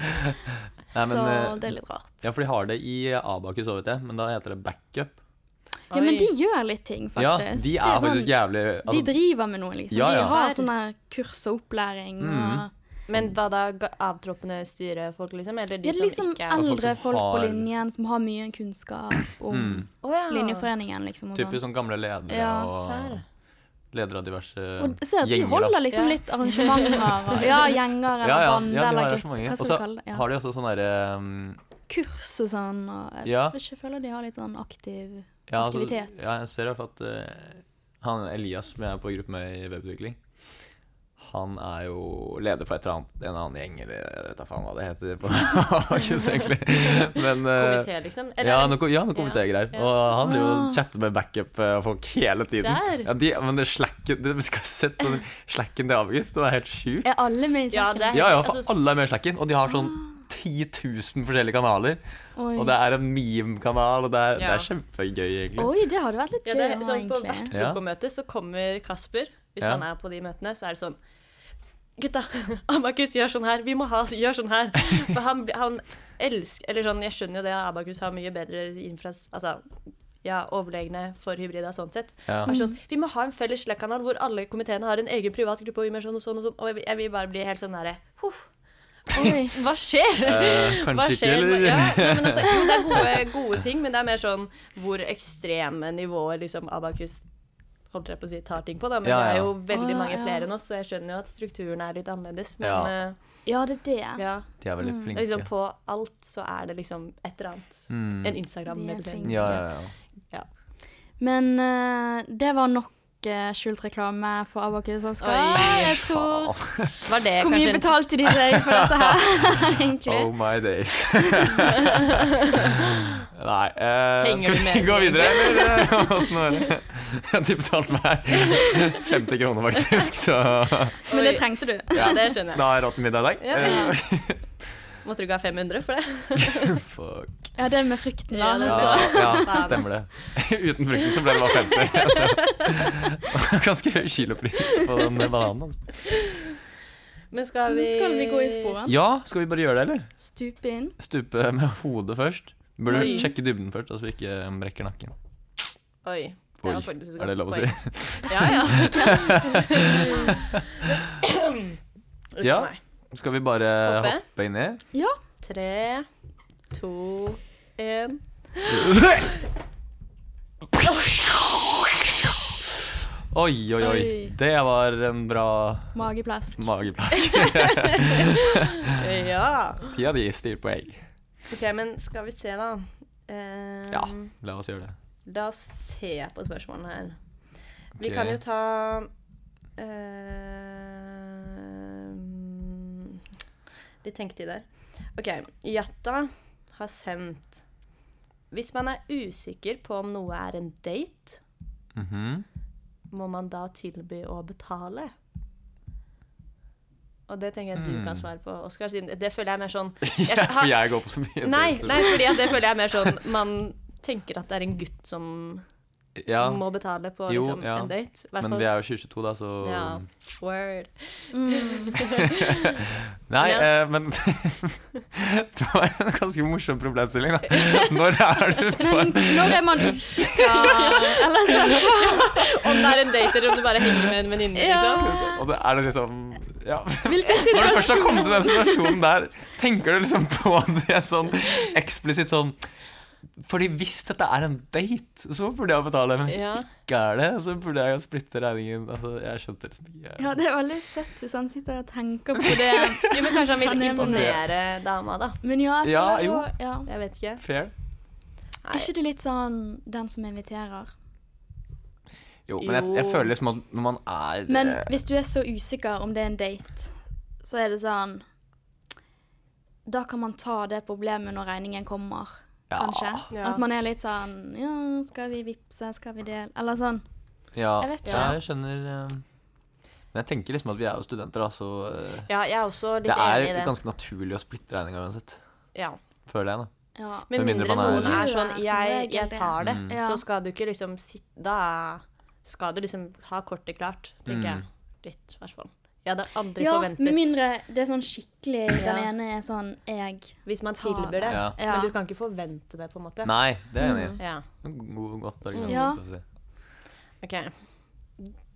Nei, men, så eh, det er litt rart. ja, for de har det i Abakus òg, vet jeg, men da heter det backup. Ja, men de gjør litt ting, faktisk. Ja, de Det er, sånn- faktisk jævlig altså, De driver med noe, liksom. Ja, ja. De har sånn her kurs og opplæring. Mm. Og, Men hva da? ga- Avtroppende styrefolk, liksom? Eller de ja, det er som liksom ikke er folk sånn som eldre folk på har- linjen som har mye kunnskap om Mm. Å ja. linjeforeningen, liksom. Og, Typisk sånn. sånn gamle ledere Ja, sær. og ledere av diverse og ser at de gjenger, da. holder liksom Ja. litt arrangementer og ja, gjenger eller ja, ja, band ja, de eller har så gruppe. mange. Hva Og skal så du kalle det? Ja. har de også sånn derre um, Kurs og sånn. Og jeg Ja. tror ikke- føler de har litt sånn aktiv ja, altså, aktivitet. ja, jeg ser i hvert fall at eh, han Elias, som jeg er på gruppe med i webutvikling, han er jo leder for et eller annet, en annen gjeng, eller jeg vet da faen hva det heter på Akershus, egentlig. Men eh, Komité, liksom? ja, Eller noe, ja, noe komitégreier. ja. Og han driver og Ah. chatter med backup-folk hele Sær. tiden. Ja, de, men det slacken Du skal ha sett den slacken til Abakus, den er helt sjuk. Er alle med i Ja, snakken? det er- Ja, ja, for altså- Ah. alle er med i slacken, og de har sånn 10 000 forskjellige kanaler. Oi. Og det er en meme-kanal, og det er, det Ja. er kjempegøy, egentlig. Oi, det hadde vært litt Ja, det gøy å er ha, sånn, på hvert egentlig. Ja. bokomøte så kommer Kasper. Hvis Ja. han er på de møtene, så er det sånn Gutta, Abakus gjør sånn her. Vi må ha gjør sånn her. For han, blir- han elsker Eller sånn, jeg skjønner jo det, Abakus har mye bedre infra... Altså, ja, overlegne for hybrida sånn sett. Ja. Og er sånn, vi må ha en felles Slack-kanal hvor alle komiteene har en egen privat gruppe. Og vi må gjøre sånn og sånn og sånn. Og jeg, jeg vil bare bli helt sånn derre «Huff, Oi. Hva skjer? Eh, Hva kanskje ikke, skjer? eller? Ja, nei, men altså, jo, det er gode, gode ting, men det er mer sånn hvor ekstreme nivåer liksom Abakus holdt jeg på å si, tar ting på. Da. Men Ja, ja. det er jo veldig Å, ja, mange ja. flere enn oss, så jeg skjønner jo at strukturen er litt annerledes. Men Ja. eh, Ja, det er det. ja. De er veldig Det flinke. er liksom på alt så er det liksom et eller annet. Mm. En De er Instagram-melding. flinke. Ja, ja, ja. Men eh, det var nok eh, skjult reklame for Abakus Oskar. Oi, Jeg tror Faen. Var det Hvor mye kanskje en betalte de deg for dette her, egentlig? Oh my days. Nei eh, Henger Skal du vi med? gå videre, eller eh, åssen var det? De betalte meg 50 kroner, faktisk, så Men det Oi. trengte du. Ja, det skjønner jeg. da har jeg råd til middag i dag. Ja. Eh, Måtte du ikke ha 500 for det? Fuck. Ja, det med frykten, da. Ja, det er Ja, ja, Faen. stemmer det. Uten frukten så ble det bare 50. så. Ganske høy kilopris på den bananen. Altså. Men skal vi Skal vi gå i sporen? Ja, skal vi bare gjøre det, eller? Stupe inn. Stupe med hodet først. Burde Oi. sjekke dybden først, altså vi ikke um, brekker nakken. Oi. Oi, det var faktisk et er det godt lov å poeng. si? Ja, ja. Uff Ja. meg. Skal vi bare Hoppe? hoppe, inni? Tre, to, én Oi, oi, oi. Oi. Det var en bra Mageplask. mageplask. Ja. Ti av de styr på egg. OK, men skal vi se, da. Eh, Ja. La oss gjøre det. La oss se på spørsmålene her. Vi Ok. kan jo ta eh, Litt tenketid der. OK. Jatta har sendt Hvis man er usikker på om noe er en date, Mhm. må man da tilby å betale? Og det tenker jeg du Hmm. kan svare på, Oskar. siden Det føler jeg er mer sånn Ja, skal ha- For jeg går på så mye Nei, dates. nei fordi at det føler jeg er mer sånn Man tenker at det er en gutt som Ja, må betale på Jo, liksom, ja. en date. I hvert men fall- vi er jo 2022, da, så ja. Word. Mm. Nei, Ja. eh, men Det var en ganske morsom problemstilling, da. Når er du på Men en når er man usikker? Eller så Om det er en date eller om du bare henger med en venninne. Liksom. ja. Og det er det liksom Ja. Hvilken Når du først har situasjon? kommet til den situasjonen der, tenker du liksom på det sånn eksplisitt sånn Fordi hvis dette er en date, så burde jeg betale. Men hvis Ja. det ikke er det, så burde jeg splitte regningen. Altså, jeg skjønte liksom ikke Ja, det er veldig søtt hvis han sitter og tenker på det. Jo, men kanskje han Sånn vil er man. imponere dama, da. Men ja, jeg Ja, føler jo. jo- ja. Jeg vet ikke. Fair. Er ikke det litt sånn den som inviterer? Jo, men jeg, jeg Jo. føler liksom at når man er Men eh, hvis du er så usikker om det er en date, så er det sånn Da kan man ta det problemet når regningen kommer, Ja. kanskje. Ja. At man er litt sånn Ja, skal vi vippse? Skal vi dele? Eller sånn. ja, jeg vet ikke. Ja, jeg skjønner eh, Men jeg tenker liksom at vi er jo studenter, da, så eh, Ja, jeg er også litt det enig i er det. ganske naturlig å splitte regninga uansett. Ja. Føler jeg, da. Ja. Med Med mindre mindre man er- noen er sånn Som 'jeg, regel jeg det. tar det', Mm. Ja. så skal du ikke liksom sitte Da skal du liksom ha kortet klart, tenker Mm. jeg. Litt, i hvert fall. Jeg hadde aldri ja, med forventet mindre det er sånn skikkelig Ja. Den ene er sånn jeg Hvis man tar tilbyr det. det. Ja. Ja. Men du kan ikke forvente det, på en måte. Nei, det er jeg enig i. Ja, God- Godt argument. Mm. Ja. skal jeg si. ok.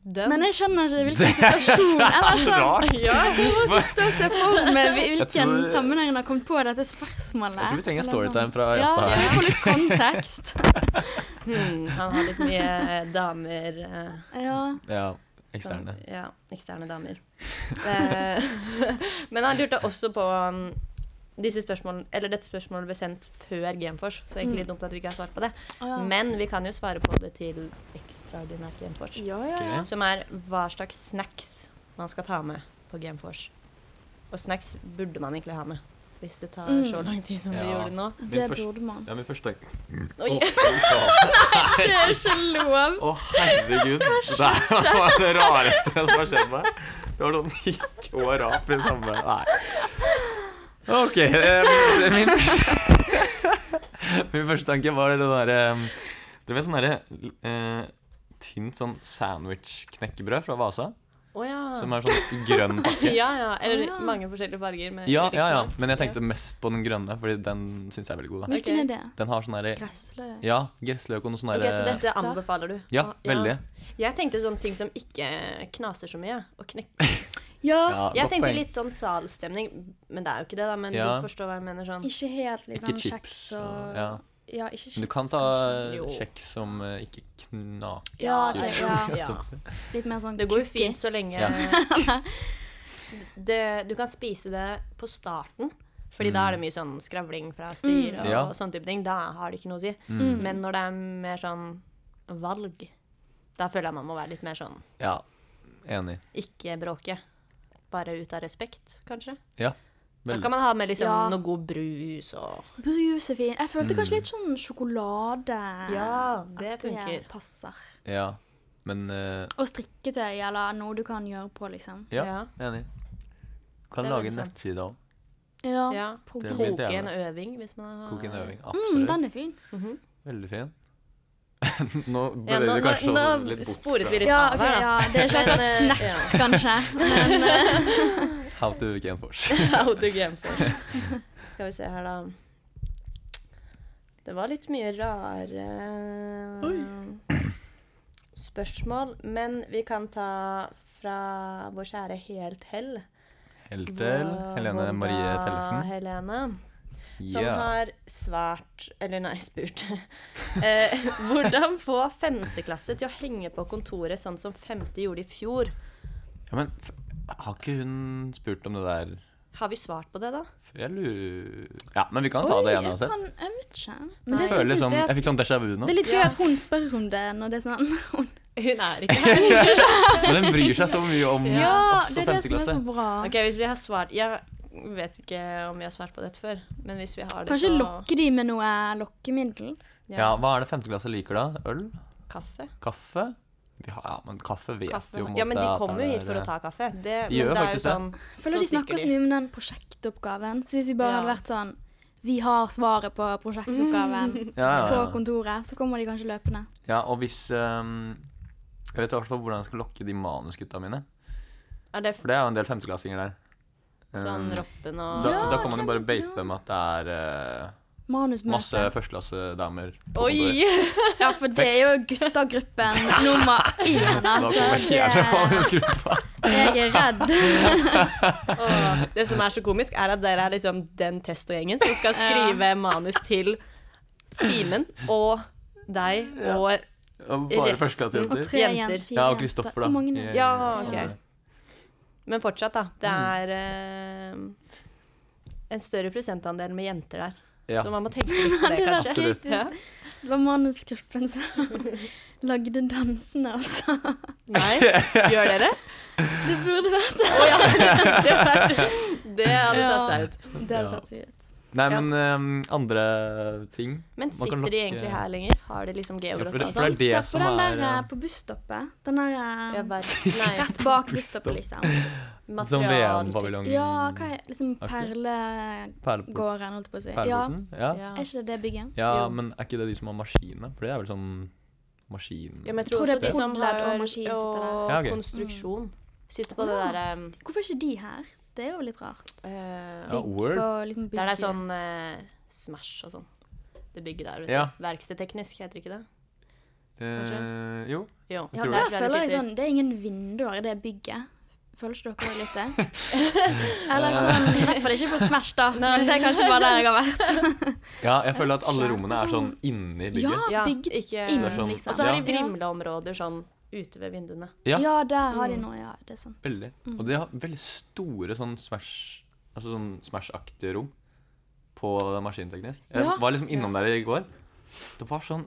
Dønn. Men jeg skjønner ikke hvilken situasjon Eller Så sånn rart! ja. Jeg må sitte og se for meg hvil- Jeg hvilken tror- sammenheng han har kommet på dette spørsmålet. Jeg tror vi trenger en Eller storytime sånn. fra Ja, Jatta her. vi får litt kontekst. hmm, han har litt mye eh, damer eh, Ja. Ja, som- eksterne. Ja, eksterne damer. Eh, Men han lurte også på um, disse spørsmålene, eller dette spørsmålet ble sendt før Genfors, så det er egentlig litt dumt at vi ikke har svart på det. Mm. Å, ja. Men vi kan jo svare på det til ekstraordinært Genfors. Ja, ja, ja. Ok. Som er hva slags snacks man skal ta med på Genfors. Og snacks burde man egentlig ha med. Hvis det tar Mm. så lang tid som det Ja. gjorde nå. Det først- burde man. Ja, min første Å, Oi, fy faen. Det er ikke lov! Å, herregud. Det der var det rareste som har skjedd meg. Det var sånn gikk og rap i samme Nei. OK. eh, min, første, min første tanke var det derre Det var sånn derre eh, tynt sånn sandwich-knekkebrød fra Vasa. Å ja. Ah. Som er sånn grønn pakke. ja, ja. Eller Å, ja. mange forskjellige farger. Med Ja, ulike ja, ja. smak. Men jeg tenkte mest på den grønne, Fordi den syns jeg er veldig god. da. Hvilken Ok. er det? Den har sånn derre Gressløk? Ja, gressløk og noe sånn Ok, Så derre dette anbefaler du? Ah, Ja, veldig. Jeg tenkte sånne ting som ikke knaser så mye. Og knekk Ja. Ja, Jeg godt tenkte poeng. litt sånn salstemning, men det er jo ikke det, da. Men Ja. du forstår hva jeg mener sånn. Ikke helt liksom Ikke kjeks chips. og ja. Ja, ikke kjeks. Men du kan ta kanskje. kanskje. Jo. kjeks som eh, ikke knaker. Ja, det, det- ja. ja. Litt mer sånn det går jo cookie. fint så lenge Ja. det, Du kan spise det på starten, Fordi da er det mye sånn skravling fra styr og Mm. Ja. sånne type ting. Da har det ikke noe å si. Mm. Men når det er mer sånn valg, da føler jeg man må være litt mer sånn Ja, enig. ikke bråke. Bare ut av respekt, kanskje. Ja, Da veldig. kan man ha med liksom Ja. noe god brus og Brus er fint. Jeg følte Mm. kanskje litt sånn sjokolade Ja, det at funker. passer. Ja, men eh, Og strikketøy eller noe du kan gjøre på, liksom. Ja, Ja. enig. Kan Det er lage veldig en sant. nettside òg. Ja. Ja. På Det grill. blir Koke det en ene. øving, hvis man har Koke en øving. Mm, Absolutt. den er fin. Veldig fin. nå Ja, beveger nå, vi kanskje nå, oss nå litt bort sporet vi fra litt Ja, av ok, her, da. ja, det er Men, ikke akkurat eh, snacks, kanskje. Men eh, How to Genfors. How to game first. Skal vi se her, da. Det var litt mye rare spørsmål. Men vi kan ta fra vår kjære Helt Hell. Helt til Vår- Helene Volda Marie Tellesen. Helene, som Ja. har svart Eller nei, spurt. eh, hvordan få femteklasse til å henge på kontoret sånn som femte gjorde i fjor? ja, men f har ikke hun spurt om det der Har vi svart på det, da? før? Jeg lurer Ja, men vi kan ta Oi, det igjen jeg kan uansett. Jeg vet ikke. Men det, Jeg som føler jeg, synes liksom, det, jeg fikk sånn déjà vu nå. er, det er litt gøy Ja. at hun spør om det når det er sånn hun, Hun er ikke her. Men den bryr seg så mye om Ja, oss og det er sånn- det som er femteklasse. så bra. Ok, hvis vi har svart Jeg vet ikke om vi har svart på dette før, men hvis vi har det, Kanskje så lokke de med noe lokkemiddel? ja. Ja, Hva er det femteklasse liker, da? Øl? Kaffe. Kaffe? Vi har, ja, men kaffe vet kaffe. jo om Ja, men de at det kommer er- jo hit for å ta kaffe. Det, De gjør men det er jo faktisk det. sånn, Føler de snakker så mye om den prosjektoppgaven. Så hvis vi bare Ja. hadde vært sånn Vi har svaret på prosjektoppgaven Ja, ja, på ja. kontoret, så kommer de kanskje løpende. ja og hvis ehm, Jeg vet i hvert fall hvordan jeg skal lokke de manusgutta mine. Er det For det er jo en del femteklassinger der. sånn Ehm, Roppen da, og Ja, da kan man jo bare hvem- baite ja. dem at det er eh, masse Manusmøte. førsteklassedamer. på kontoret. Oi! Ja, for det er jo guttegruppen nummer én, Da altså. kommer Det, hele manusgruppa. jeg er redd. Og det som er så komisk, er at dere er liksom den testo-gjengen som skal skrive manus til Simen og deg og Og bare Resten. Og førsteklassejenter. tre Jenter. jenter. Fire Ja, og jenter. Kristoffer, da. Hvor mange er det? Ja, ok. Ja. Men fortsatt, da. Mm. Det er eh, en større prosentandel med jenter der. Ja. Så man må tenke litt på det, Det er kanskje. absolutt. Ja. Det var manusgruppen som lagde dansene, altså. Nei, gjør dere? Det burde vært Å ja. Det, er- det hadde tatt seg ut. Det altså hadde sett seg ut. Nei, Ja. men ehm, andre ting Man Men kan sitter de nok, egentlig eh, her lenger? Har de liksom for geogrott det- og for det sånn? er det Altså, Sitter som på den der er, eh, på busstoppet. Den der eh, Ja, bare- Sitter Nei, rett bak busstopp. busstoppet, liksom. Som material VM-paviljongen Ja, hva er liksom Aktig. Perlegården, Perleport- holdt jeg på å si. Ja, Perleporten? Ja. ja. Ja. er ikke det det bygget? Jo. men er ikke det de som har maskinene? For det er vel sånn maskin... Ja, men jeg Tror tror også det er de som har podler og maskin sitter der. og Ja, ok. konstruksjon, Mm. sitter på det Ja. derre Hvorfor er ikke de her? Det er jo litt rart. Ja, word. På liksom Der det er bygge- sånn eh, Smash og sånn. Det bygget der ute. Ja. Verkstedteknisk, heter det ikke det? Eh, jo. Jo. Ja, tror der det. tror jeg føler jeg sitter. sånn Det er ingen vinduer i det bygget. Føler ikke dere litt det? Eh. Eller sånn I hvert fall ikke på Smash, da. Men det er kanskje bare der jeg har vært. Ja, jeg føler at ikke. alle rommene er sånn Det inni Ja, bygget. Ja, bygget ikke- inn, Det er sånn- liksom. Og så har Ja. de vrimleområder sånn ute ved vinduene. Ja. Ja. der har de noe, ja. Det er sant. Veldig. Mm. Og de har veldig store sånn Smash Altså sånn Smash-aktige rom på maskinteknisk. Jeg Ja. var liksom innom der i går. Det var sånn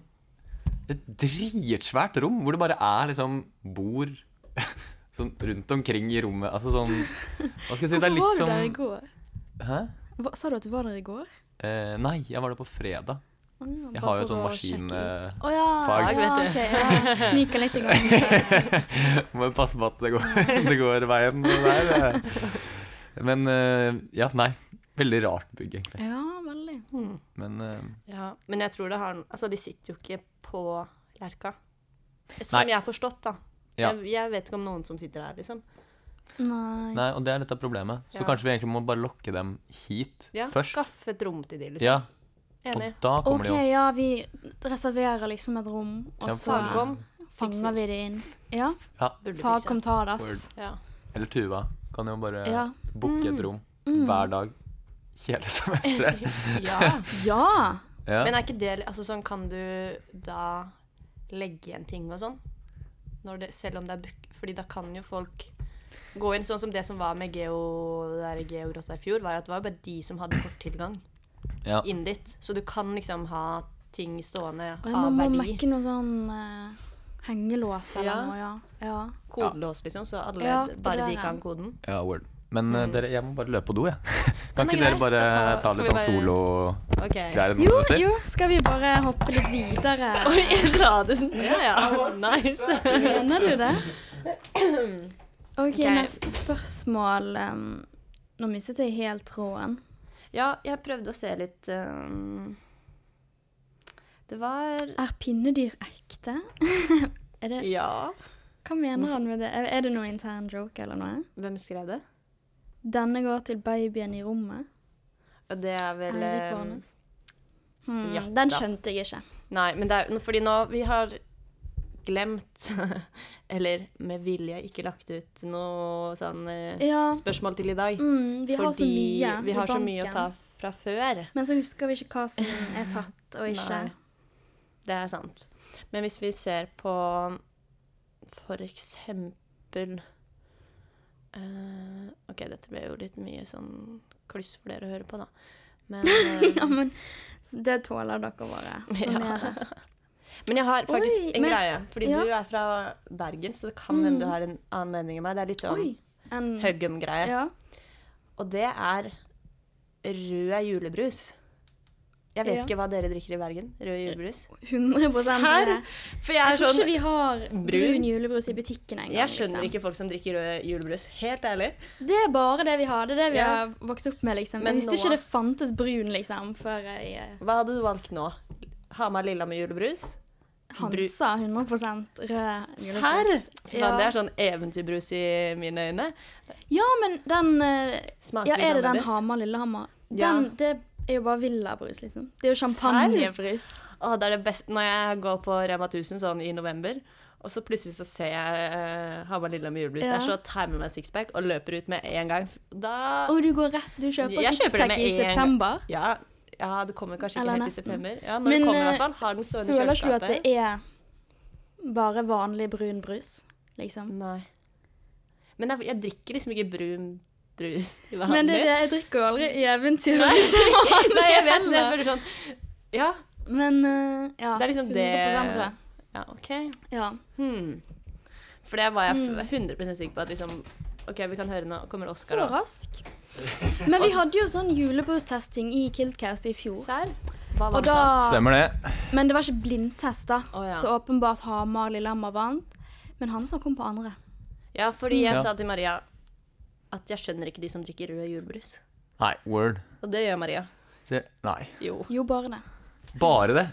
et dritsvært rom hvor det bare er liksom bord sånn rundt omkring i rommet. Altså sånn Hva skal jeg si? Det er Hvorfor litt var du som der i går? Hæ? Hva, sa du at du var der i går? Eh, nei, jeg var der på fredag. Å, ja, Jeg bare har jo et for sånn å maskin... sjekke ut. eh, Å ja. fag, ja, vet ok, ja. Sniker litt i gang. Må jo passe på at det går, det går veien der. Men eh, ja, nei. Veldig rart bygg, egentlig. Ja, veldig. Men eh, Ja, men jeg tror det har Altså, de sitter jo ikke på Lerka. Som Nei. jeg har forstått, da. Ja. Jeg, jeg vet ikke om noen som sitter her, liksom. Nei. nei, og det er dette problemet. Så Ja. kanskje vi egentlig må bare lokke dem hit Ja, først. Skaff et rom til de, liksom. Ja, og Enig. da kommer OK, de jo. ja, vi reserverer liksom et rom, og Ja, så for- Fagom fikser. fanger vi det inn. Ja. burde fikse. Fagkom tar det, ass. Ja. Eller Tuva kan jo bare Ja. Mm. booke et rom hver dag hele semesteret. ja. Ja! Ja. Men er ikke det Altså sånn, kan du da legge igjen ting og sånn? Når det, selv om det er book... Fordi da kan jo folk gå inn sånn som det som var med Geo det der Geogrotta i fjor, var jo at det var bare de som hadde kort tilgang Ja. inn dit. Så du kan liksom ha ting stående Og jeg må, av må verdi. mekke noe sånn eh, hengelås eller Ja. noe, ja. ja. Kodelås, liksom, så alle Ja, på bare de døren. kan koden. ja, word. Men eh, dere, jeg må bare løpe på do, jeg. Mm. men Kan ikke greit, dere bare da tar- ta skal litt vi sånn bare- solo-greier OK. i Jo, noen minutter? jo, skal vi bare hoppe litt videre? Oi, la den Ja, ja. Nice. Mener du det? OK, Ok. neste spørsmål. em, nå mistet jeg helt tråden. Ja, jeg prøvde å se litt ehm, Det var Er pinnedyr ekte? er det, Ja. hva mener han med det? Er, er det noe intern joke eller noe? Hvem skrev det? Denne går til babyen i rommet. Og det er vel Eirik eh, Varnes. Hmm, ja den da. skjønte jeg ikke. Nei, men det er jo fordi nå vi har glemt, eller med vilje ikke lagt ut noe sånn eh, Ja, spørsmål til i dag. mm, vi har så mye vi i har så banken. mye å ta fra før. Men så husker vi ikke hva som er tatt og ikke. Nei, det er sant. Men hvis vi ser på for eksempel eh, OK, dette ble jo litt mye sånn kluss for dere å høre på, da. Men, eh, Ja, men s- det tåler dere bare. Sånn Ja. er det. Men jeg har faktisk Oi, en men- greie. Fordi ja. Mm. du er fra Bergen, så det kan hende du har en annen mening enn meg. Det er litt sånn Oi. En, Høggum-greie. ja. Og det er rød julebrus. Jeg vet Ja. ikke hva dere drikker i Bergen. Rød julebrus. 100 Serr? er det. For jeg Jeg er tror ikke sånn vi har brun. brun julebrus i butikken engang. Jeg skjønner liksom. ikke folk som drikker rød julebrus. Helt ærlig. Det er bare det vi har. Det er det vi Ja. har vokst opp med, liksom. Men jeg visste nå- ikke det fantes brun, liksom, før jeg eh, Hva hadde du valgt nå? Hamar lilla med julebrus? Hansa 100 rød Serr? julebrus. Fy Ja. faen, Det er sånn eventyrbrus i mine øyne. ja, men den eh, Smaker Ja, er det den annerledes. Hamar-Lillehammer? Ja. Den, det er jo bare villabrus, liksom. Det er jo champagnebrus. Åh, det er det beste Når jeg går på Rema 1000 sånn i november, og så plutselig så ser jeg uh, Hamar Lilla med julebrus Ja. der, så tar jeg med meg sixpack og løper ut med en gang. Da Og du går rett, du kjøper Jeg kjøper det sixpack med i en gang. september. Ja, ja det kommer kanskje ikke Eller helt i nesten. september. Ja, når Men, det kommer i eh, hvert fall. Har den stående i Føler ikke du at kjøleskapet. det er bare vanlig brun brus, liksom? Nei. Men jeg, jeg drikker liksom ikke brun brus til vanlig. Men det er det, jeg drikker jo aldri i eventyr. Mm. Nei, jeg vet det. Jeg føler sånn Ja, Men eh, ja, Det er liksom det- 100 rød. ja OK. Ja. Hmm. For det var jeg f- 100 sikker på at liksom OK, vi kan høre nå. Kommer Hmm. Så Oskar, da. rask. Men vi hadde jo sånn julebordtesting i Kildcast i fjor. Serr? Hva Og vant da? da, Stemmer det. men det var ikke blindtest, da. Å, ja. Så åpenbart Hamar Lillehammer vant. Men Hansa kom på andre. Ja, fordi jeg Mm. Ja. sa til Maria at jeg skjønner ikke de som drikker rød julebrus. Nei, word. Og det gjør Maria. Det, nei. Jo. Jo, bare det. Bare det.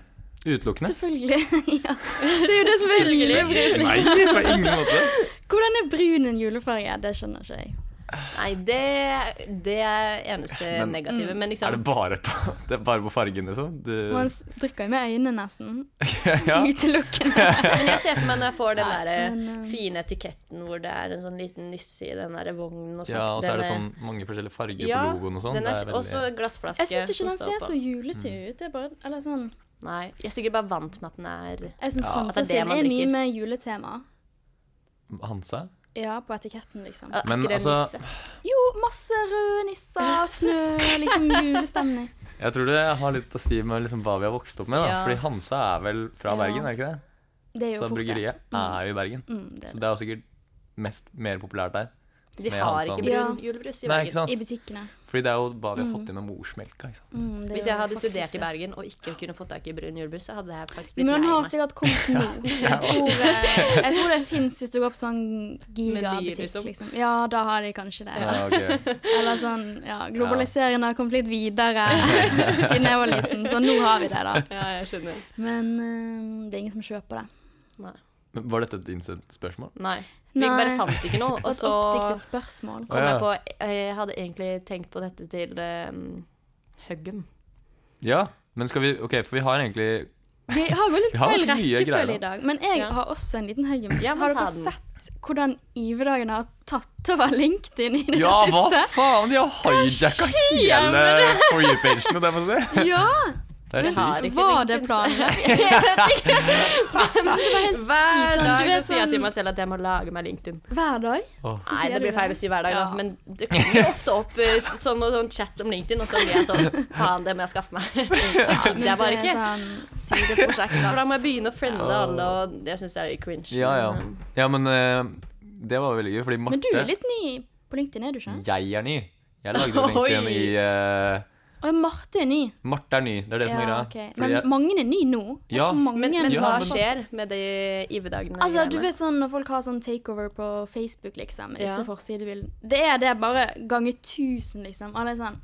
Utelukkende. Selvfølgelig. ja. Det er jo det som er julebrus, Nei, liksom. på ingen måte. Hvordan er brun en julefarge? Det skjønner ikke jeg. Nei, det, det er eneste Men- Mm. negative. Er Men det liksom bare på, det er bare på fargen, liksom? Du, Man s- drikker jo med øynene, nesten. ja. Utelukkende. Men jeg ser for meg når jeg får den Nei, men, der eh, fine etiketten hvor det er en sånn liten nisse i den der vognen og sånn. ja, og så er det Den sånn mange forskjellige farger ja, på logoen og sånn. den Det er er Og så veldig glassflaske. Jeg syns ikke som den står ser oppå. så julete ut. Det er bare, eller sånn. Nei, jeg er sikkert bare vant med at den er Jeg syns Ja, at Hansa det er det sin man er mye drikker. med juletema. Hansa? Ja, på etiketten, liksom. er ikke Men, det en altså, nisse? Jo, masse røde nisser, snø, liksom julestemning. Jeg tror det har litt å si med liksom hva vi har vokst opp med. da Ja. Fordi Hansa er vel fra Ja. Bergen, er det ikke det? Det er jo Så fort det. Sånn bryggeriet Sånn er jo i Bergen. Mm, det er Så det. det er jo sikkert mest, mer populært der. De Med har Hansa. ikke Ja. brun julebrus i Nei, ikke Bergen. sant? I Mm. butikkene. Fordi det er jo hva vi har fått inn med morsmelka. ikke sant? Mm, det er Hvis jo jeg hadde faktisk studert i det. Bergen og ikke kunne fått tak i brun julebrus, så hadde jeg faktisk blitt Men lei den har meg. sikkert kommet nå. Jeg tror, eh, jeg tror det fins hvis du går på sånn Meny, gigabutikk. liksom. Liksom. Ja, da har de kanskje det. Ja, ok. Eller sånn, ja, Globaliseringen har kommet litt videre siden jeg var liten, så nå har vi det, da. Ja, jeg skjønner. Men eh, det er ingen som kjøper det. Nei. Men Var dette et innsendt spørsmål? Nei. Vi bare Nei. fant ikke noe, Og og et så oppdiktet spørsmål. Å, kom ja. jeg på Jeg hadde egentlig tenkt på dette til um, Høggum. Ja, men skal vi Ok, for vi har egentlig Vi har gått litt Vi har feil ganske mye greier, rekkefølge da. i dag, men jeg Ja. har også en liten haug. Ja, men har ta dere den. sett hvordan IV-dagen har tatt over LinkedIn i det Ja, hva siste? faen? De har hijacka hele For you-pagen. Det er sjukt. Ja! Det er har sykt. ikke Var LinkedIn, det så- planlagt? Men det var Hver helt sykt. Sånn, du dag vet så sier jeg til sånn meg selv at jeg må lage meg LinkedIn. Hver dag? Åh. Nei, sier det du blir feil å det? si hver dag, da. Ja. Men det kommer jo ofte opp eh, sånn og sånn chat om LinkedIn, og så blir jeg sånn Faen, det må jeg skaffe meg. Så gidder jeg bare ikke. Sånn sideprosjekt, For da må jeg ass. begynne å friende Ja. alle, og jeg syns det er cringe. Ja, ja. men, ja men eh, det var veldig gøy, fordi Marte Men du er litt sånn. ny på LinkedIn, er du ikke? Jeg er ny. Jeg lagde jo LinkedIn Oi. i eh, Å, ja, Marte er ny. Marte er ny. Det er det som er greia. Ja, ok. Fordi Men jeg- mange er ny nå. Det er Ja, for mange. men, men Ja, hva men- skjer med de IV-dagene? Altså, du greiene? vet sånn Når folk har sånn takeover på Facebook, liksom, med disse Ja. forsidebildene Det er det bare ganger tusen, liksom. Alle er sånn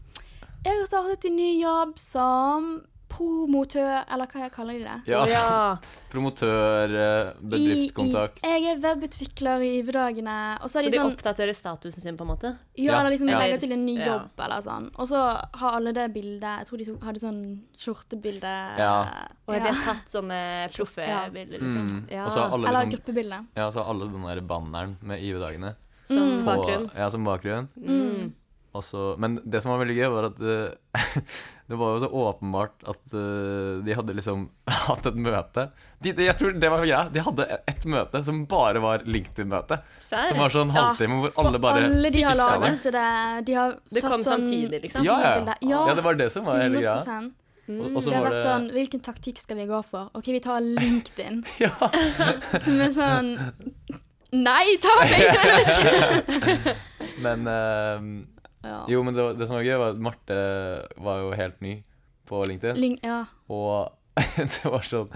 Jeg har startet en ny jobb som promotør Eller hva jeg kaller de det? ja, Å, altså, ja. Promotør, eh, bedriftskontakt I, i, jeg er webutvikler i IV-dagene. Og så Så er de, de sånn oppdaterer statusen sin, på en måte? Ja, Ja, eller liksom ja. legger til en ny Ja. jobb, eller sånn. Og så har alle det bildet Jeg tror de to hadde sånn skjortebilde. eh, Ja. Og jeg Ja. har tatt sånne proffe Ja. bilder, liksom. Mm. Ja. Og så har alle, Eller liksom, gruppebilde. ja, så har alle den der banneren med IV-dagene Som på- bakgrunn. Ja, som bakgrunn. Mm. Og så- men det som var veldig gøy, var at eh, det var jo så åpenbart at eh, de hadde liksom hatt et møte. De, de, jeg tror det var greia. De hadde et møte som bare var LinkedIn-møte. Som var sånn Ja, halvtime hvor For alle bare alle de har fiksa det. laget så det De har Det tatt kom sånn samtidig, liksom. Ja, ja. profilbilde. ja. ja, det var det som var hele greia. 100%. Og, og så Det har var vært det sånn Hvilken taktikk skal vi gå for? OK, vi tar LinkedIn. Ja. Som er sånn Nei, ta Facebook! sånn- Men eh, Ja. Jo, men det, var- det som var gøy, var at Marte var jo helt ny på LinkedIn. Link, ja. Og det var sånn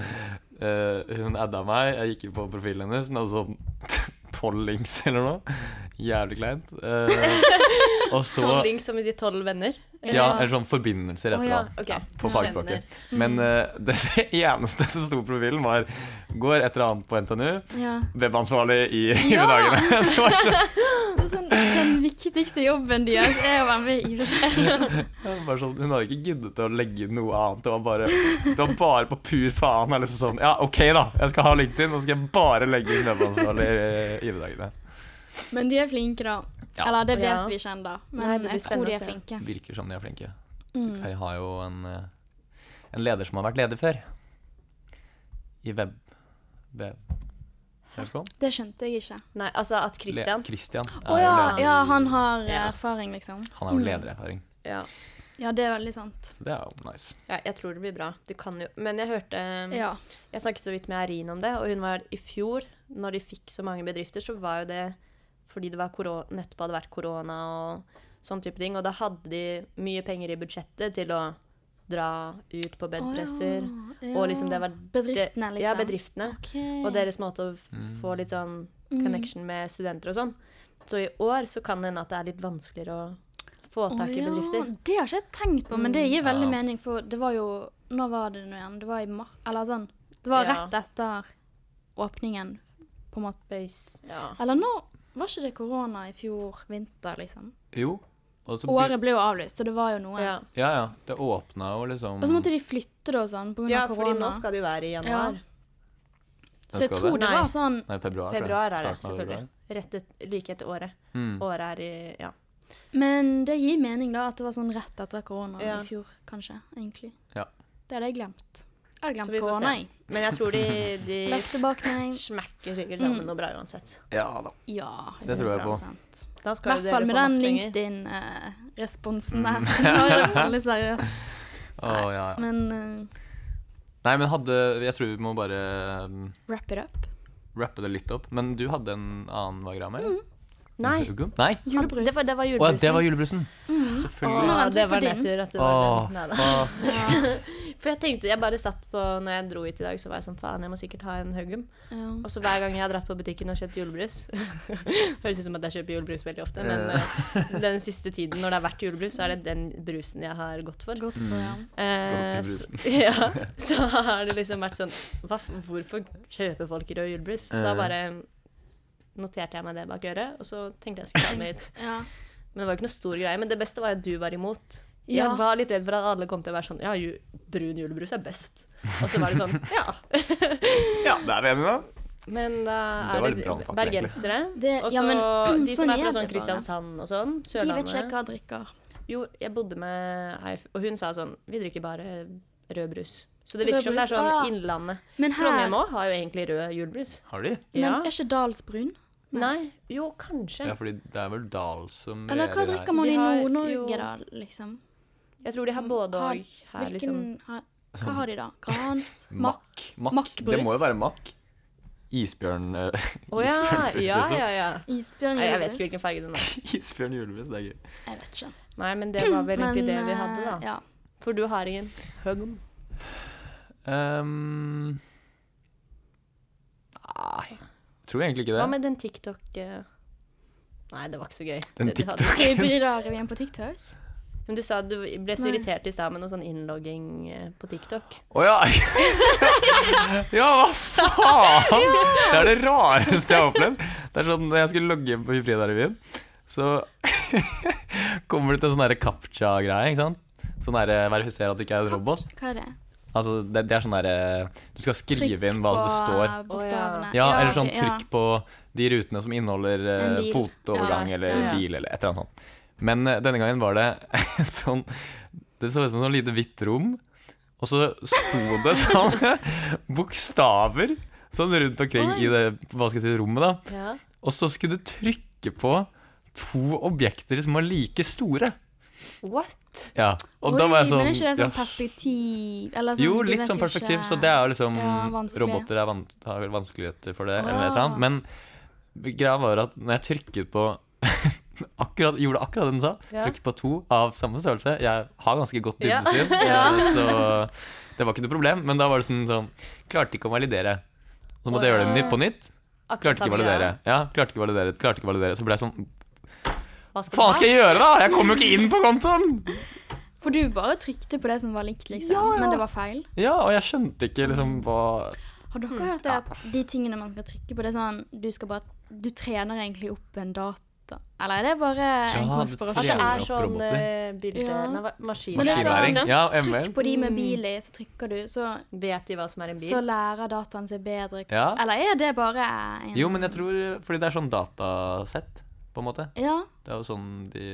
eh, Hun adda meg, jeg gikk inn på profilen hennes, hun hadde sånn tolv links eller noe. Jævlig kleint. Eh, og så Tolv links, som vi sier tolv venner. Ja, eller sånn forbindelser Å etter ja, da. ok. På Jeg fagspråket. Mm. Men eh, det eneste som sto på profilen, var 'går et eller annet på NTNU'. ja. Webansvarlig i Ja! dagene. Så det var sånn, Det er sånn, den viktigste jobben deres er å være med i jeg var bare sånn, hun hadde ikke giddet å legge inn noe annet. Det var bare, det var bare på pur faen. Jeg liksom sånn, ja, OK, da. Jeg skal ha LinkedIn, og så skal jeg bare legge inn webansvarlig i IV-dagene. Men de er flinke, da. Ja. Eller det vet Ja. vi ikke ennå, Nei, men det blir jeg tror spennende de å er se. flinke. Virker som de er flinke. Mm. Jeg har jo en, eh, en leder som har vært leder før. I web... web. Webcom? Det skjønte jeg ikke. Nei, altså at Le- Christian Christian er Å jo ja, leder i- ja, han har eh, Ja. erfaring, liksom. han er jo Mm. ledererfaring, ja. Ja, det er veldig sant. så det er jo nice. ja, jeg tror det blir bra. Det kan jo Men jeg hørte um, Ja. Jeg snakket så vidt med Eirin om det, og hun var i fjor, når de fikk så mange bedrifter, så var jo det fordi det var koro- nettopp hadde vært korona og sånn type ting. Og da hadde de mye penger i budsjettet til å dra ut på bedpresser. Og liksom det var Bedriftene, det- liksom. Ja, bedriftene. Ok. Og deres måte å f- Mm. få litt sånn Mm. connection med studenter og sånn. Så i år så kan det hende at det er litt vanskeligere å få tak i Å, ja. bedrifter. Mm. Det har ikke jeg tenkt på, men det gir Ja. veldig mening, for det var jo Når var det nå igjen? Det var i mar... Eller sånn. Det var Ja. rett etter åpningen, på en måte. Base, ja. Eller nå var ikke det korona i fjor vinter, liksom? Jo. Og så by- Året ble jo avlyst, så det var jo noe. Ja. Ja, ja. Det åpna jo liksom Og så måtte de flytte det og sånn pga. ja, av fordi nå korona. skal det jo være i januar. Så jeg Skal tror det det? var sånn Nei, februar. tror jeg. Februar er det, Starten av selvfølgelig. Rett et, like etter året. februar. Mm. Året er i ja. Men det gir mening, da, at det var sånn rett etter korona Ja. i fjor, kanskje. Egentlig. Ja. Det hadde jeg glemt. Jeg Så hadde glemt vi får korona, se. jeg. Men jeg tror de, de Lette bak meg. smekker sikkert Mm. sammen noe bra uansett. Ja da. Ja. Det tror jeg på. 100%. Da I skal hvert jo dere få fall med den masse penger. Mm. LinkedIn-responsen der, så tar jeg det veldig seriøst. Å, ja, ja. Men eh, Nei, men hadde Jeg tror vi må bare um, wrap it up. rappe det litt opp. Men du hadde en annen vagra med? eller? Mm, Nei. Mm-hmm. Ugo? Nei? Julebrus. Det var, det var Å ja, julebrusen. det var julebrussen. Så nå Selvfølgelig. venter vi det på var din. nedtur at det var Åh, nedtur. Neida. fuck. For jeg tenkte, jeg bare satt på Når jeg dro hit i dag, så var jeg sånn faen, jeg må sikkert ha en Haugum. Ja. Og så hver gang jeg har dratt på butikken og kjøpt julebrus Høres ut som at jeg kjøper julebrus veldig ofte, men eh, den siste tiden når det har vært julebrus, så er det den brusen jeg har gått for. Mm. Godt for, ja. Eh, Godt i brusen. s- ja, så har det liksom vært sånn hva, f- Hvorfor kjøper folk rød julebrus? Så da Eh. bare noterte jeg meg det bak øret, og så tenkte jeg jeg skulle ta med hit. ja. Men det var jo ikke noe stor greie. Men det beste var jo at du var imot. Ja. Jeg var litt redd for at alle kom til å være sånn Ja, ju brun julebrus er best. Og så var det sånn, ja. Ja, det er vi enige om. Men da Det var er litt det brannfakkel, bergensere. Det- Og så ja, men- de sånn som er er fra det sånn bare. Kristiansand og sånn. De vet ikke Sørlandet. hva jeg drikker. Jo, jeg bodde med ei, f- og hun sa sånn Vi drikker bare rød brus. Så det virker som det er sånn Rødbrus, ah. Innlandet. Men her Trondheim òg har jo egentlig rød julebrus. Har de? Ja. Men er ikke dalsbrun? Nei. Jo, kanskje. Ja, fordi det er vel Dahl som Eller hva regjerer her. drikker man De i har jo- Nord-Norge, da, liksom? Jeg tror de har både og Har- her, Hvilken liksom. har, Sånn Hva har de, da? Grans? Makk? Makk. Makk. Makkbrus. Det må jo være makk. Isbjørn uh, Å ja, Isbjørnbrus, ja, liksom. ja, ja. Isbjørn? Nei, jeg vet ikke julebrus? hvilken farge den er. Isbjørn julebrus, det er gøy. Jeg vet ikke. Nei, men det var vel egentlig det vi eh, hadde, da. Ja. For du har ingen hugg. Ehm, nei Tror egentlig ikke det. Hva med den TikTok eh? Nei, det var ikke så gøy. Den Det du hadde. TikTok. Hybridarevyen på TikTok? Men du sa at du ble så Nei. irritert i stad med noe sånn innlogging eh, på TikTok. Å ja! ja, hva faen? Det er det rareste jeg har opplevd. Det er sånn, når jeg skulle logge inn på Hybrida-revyen, så kommer det til sånn derre captcha-greie, ikke sant? Sånn derre verifisere at du ikke er en robot. Hva er det? Altså, det, det er sånn derre Du skal skrive Trykk inn hva det på står. Bokstavene. Ja, eller sånn ok, ja. trykk på de rutene som inneholder En eh, bil. fotovergang Ja, eller ja, ja. bil eller et eller annet sånt. Men eh, denne gangen var det sånn Det så ut som et sånn lite hvitt rom, og så sto det sånn bokstaver sånn rundt omkring Oi. i det hva skal jeg si, rommet, da. Ja. Og så skulle du trykke på to objekter som var like store. What? Ja, og da var jeg Oi, sånn Men er ikke det ja, sånn perspektiv eller sånn, jo, du litt vet sånn jo perspektiv, ikke- så det er jo liksom Ja, vanskelig. Roboter er van har vanskeligheter for det, eller et eller Ah. annet. Men greia var at når jeg trykket på akkurat, Gjorde akkurat det den sa, Ja. trykket på to av samme størrelse Jeg har ganske godt Ja. dybdesyn, eh, så det var ikke noe problem. Men da var det sånn, sånn Klarte ikke å validere. Så måtte jeg gjøre det nytt på nytt. Klarte ikke å validere. Ja, klarte ikke å validere, klarte ikke å validere. Så ble jeg sånn Hva skal, Faen skal jeg gjøre, da?! Jeg kommer jo ikke inn på kontoen! For du bare trykte på det som var likt, liksom, Ja, ja. men det var feil? Ja, og jeg skjønte ikke liksom hva Har dere hørt det at de tingene man skal trykke på, det er sånn Du skal bare Du trener egentlig opp en data. Eller er det bare Ja, du en At det konspirasjon? trener. er Opp sånn roboter. eh, bilde... Ja. Nei, hva- Men det er sånn- Maskinlæring. maskinlæring. Ja, ML. Trykk på de med bil i, så trykker du, så, Vet de hva som er en så bil? lærer dataen seg bedre. Ja. Eller er det bare en Jo, men jeg tror Fordi det er sånn datasett, på en måte. Ja. Det er jo sånn de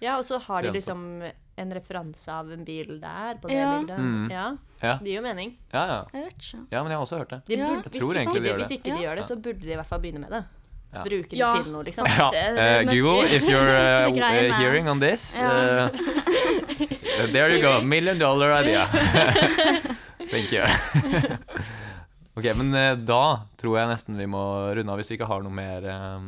Ja, og så har de Trensa. liksom en referanse av en bil der, på det Ja. bildet. Mm. Ja. Ja. Det gir jo mening. Ja, ja. Jeg vet ikke. Ja, men jeg har også hørt det. De Ja. burde, Jeg hvis, tror ikke- egentlig de gjør hvis det. ikke de Ja. gjør det, så burde de i hvert fall begynne med det. Ja. Bruke det Ja. til noe, liksom. Ja, Det er det eh, mest Google, if you're eh, irriterende greiene. eh, hearing on this Ja. eh, There you go. Million dollar idea. Thank you. ok, men eh, da tror jeg nesten vi må runde av hvis vi ikke har noe mer eh,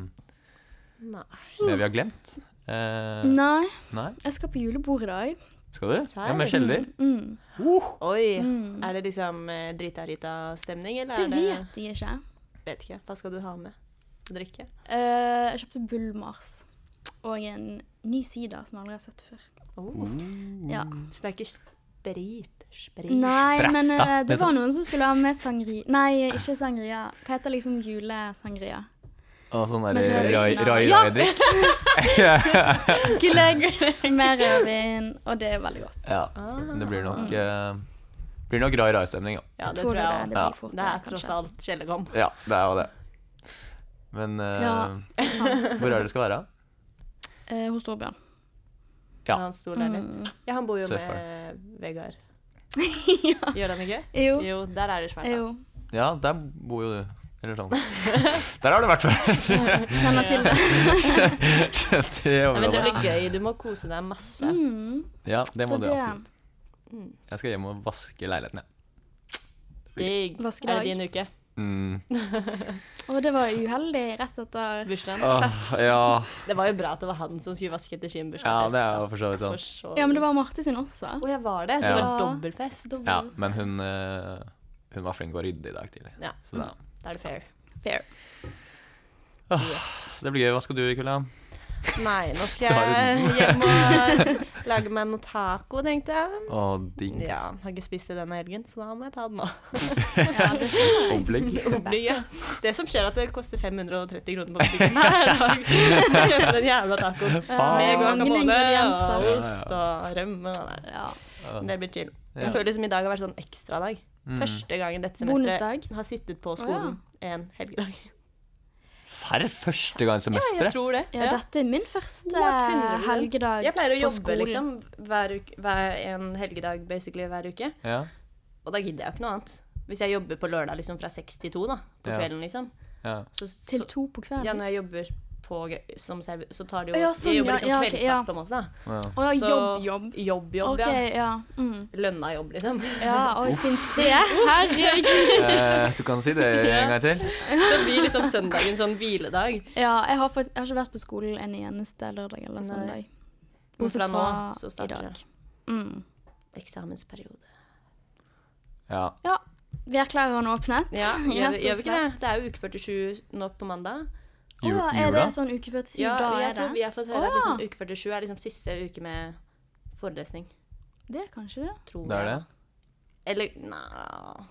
Nei. Det vi har glemt. Eh, Nei, nei. jeg skal på julebord i dag. Skal du? Serr? Ja, med skjeller? Mm. Oi. Mm. Er det liksom eh, drita-rita-stemning, eller Det er det vet jeg ikke. Vet ikke. Hva skal du ha med? Å drikke? Eh, jeg kjøpte Bullmars og en ny sider som jeg aldri har sett før. Oh. Mm. Ja. Så det er ikke sprit? Sprit? Nei, Spretta, men eh, det liksom. var noen som skulle ha med sangri... Nei, ikke sangria. Hva heter liksom julesangria? Og sånn Men derre det er rai original. rai Ja! rai drikk Gløgg med rødvin, og det er veldig godt. Ja. Ah. Det blir nok eh, Blir nok rai rai stemning, ja. Ja, det Tror tror du jeg også. det? Det blir Ja. fort Det det, er tross kanskje. alt kjellerkom. Ja, det er jo det. Men eh, Ja. Sant. hvor er det du skal være? Eh, hos Torbjørn. Ja. Han sto der litt. Mm. Ja, han bor jo Se for med Vegard. Gjør han ikke? Jo. Jo, der er det svært. da. jo. Ja, der bor jo du. Eller sånn. Der har du vært før. Kjenner til det. Skjønt i Nei, men det området. blir gøy. Du må kose deg masse. Mm. Ja, det må Så du det- absolutt. Jeg skal hjem og vaske leiligheten, jeg. Digg. Vaskedag. Er det din uke? Mm. Og det var uheldig rett etter Bursdagen? Åh, ja. Det var jo bra at det var han som skulle vaske etter sin ja, bursdagsfest. det er jo for så vidt da. sånn. For så Ja, men det vidt. var Marte sin også. Å, ja, var det? Det Ja. var dobbeltfest? Ja, men hun, eh, hun var flink å rydde i dag tidlig. Ja. Så det, Da er det fair. Fair. Yes. så det blir gøy. Hva skal du i kveld, da? Nei, nå skal Tar jeg hjem og lage meg noe taco, tenkte jeg. Å, digg. Ja, har ikke spist det denne helgen, så da må jeg ta det nå. Ja, det skjønner jeg. Opplegg. Oblig, ja. Det som skjer er at det koster 530 kroner på butikken hver dag. Kjøpe den jævla tacoen. Faen. Med guacamole Eh, ingredienser. og ost og rømme. og det der. Ja. Det blir chill. Ja. Jeg føler som i dag har vært sånn ekstradag. Mm. Første gangen dette semesteret Bonusdag. har sittet på skolen en helgedag. Serr, første gang i Jeg semesteret? tror det. Ja, dette er min første What, kunne du? helgedag Jeg pleier å på jobbe skolen. liksom hver uke, hver, en helgedag basically hver uke. Ja. Og da gidder jeg jo ikke noe annet. Hvis jeg jobber på lørdag liksom fra seks til to da, på Ja. kvelden, liksom. ja. Så, Til så, to på kvelden. ja, når jeg jobber på, gre- som serv- så tar det jo Ja, sånn, Jeg jobber ja, liksom ja, ok, kveldsvakt ja. på en måte. da. ja. Å ja, Så- jobb, jobb. Jobb, jobb, OK, ja. Mm. ja. Lønna jobb, liksom. Ja, oi, fins det? Herregud. Eh, du kan si det en gang til. Så blir liksom søndagen sånn hviledag. Ja, jeg har, faktisk, jeg har ikke vært på skolen en eneste lørdag eller Nei. søndag. Men Bortsett fra nå fra så i starter dag. det. Mm. eksamensperiode. Ja. Vi erklærer den åpnet. Ja, gjør, rett og gjør vi ikke det? slett. Det er jo uke 47 nå på mandag. Å Ju- ja, er det Jula? sånn uke før til syv? Ja, da jeg er tror det? vi har fått høre Å, at liksom, ja. uke 47 er liksom siste uke med forelesning. Det er kanskje det. Tror Det er jeg. det? Eller nei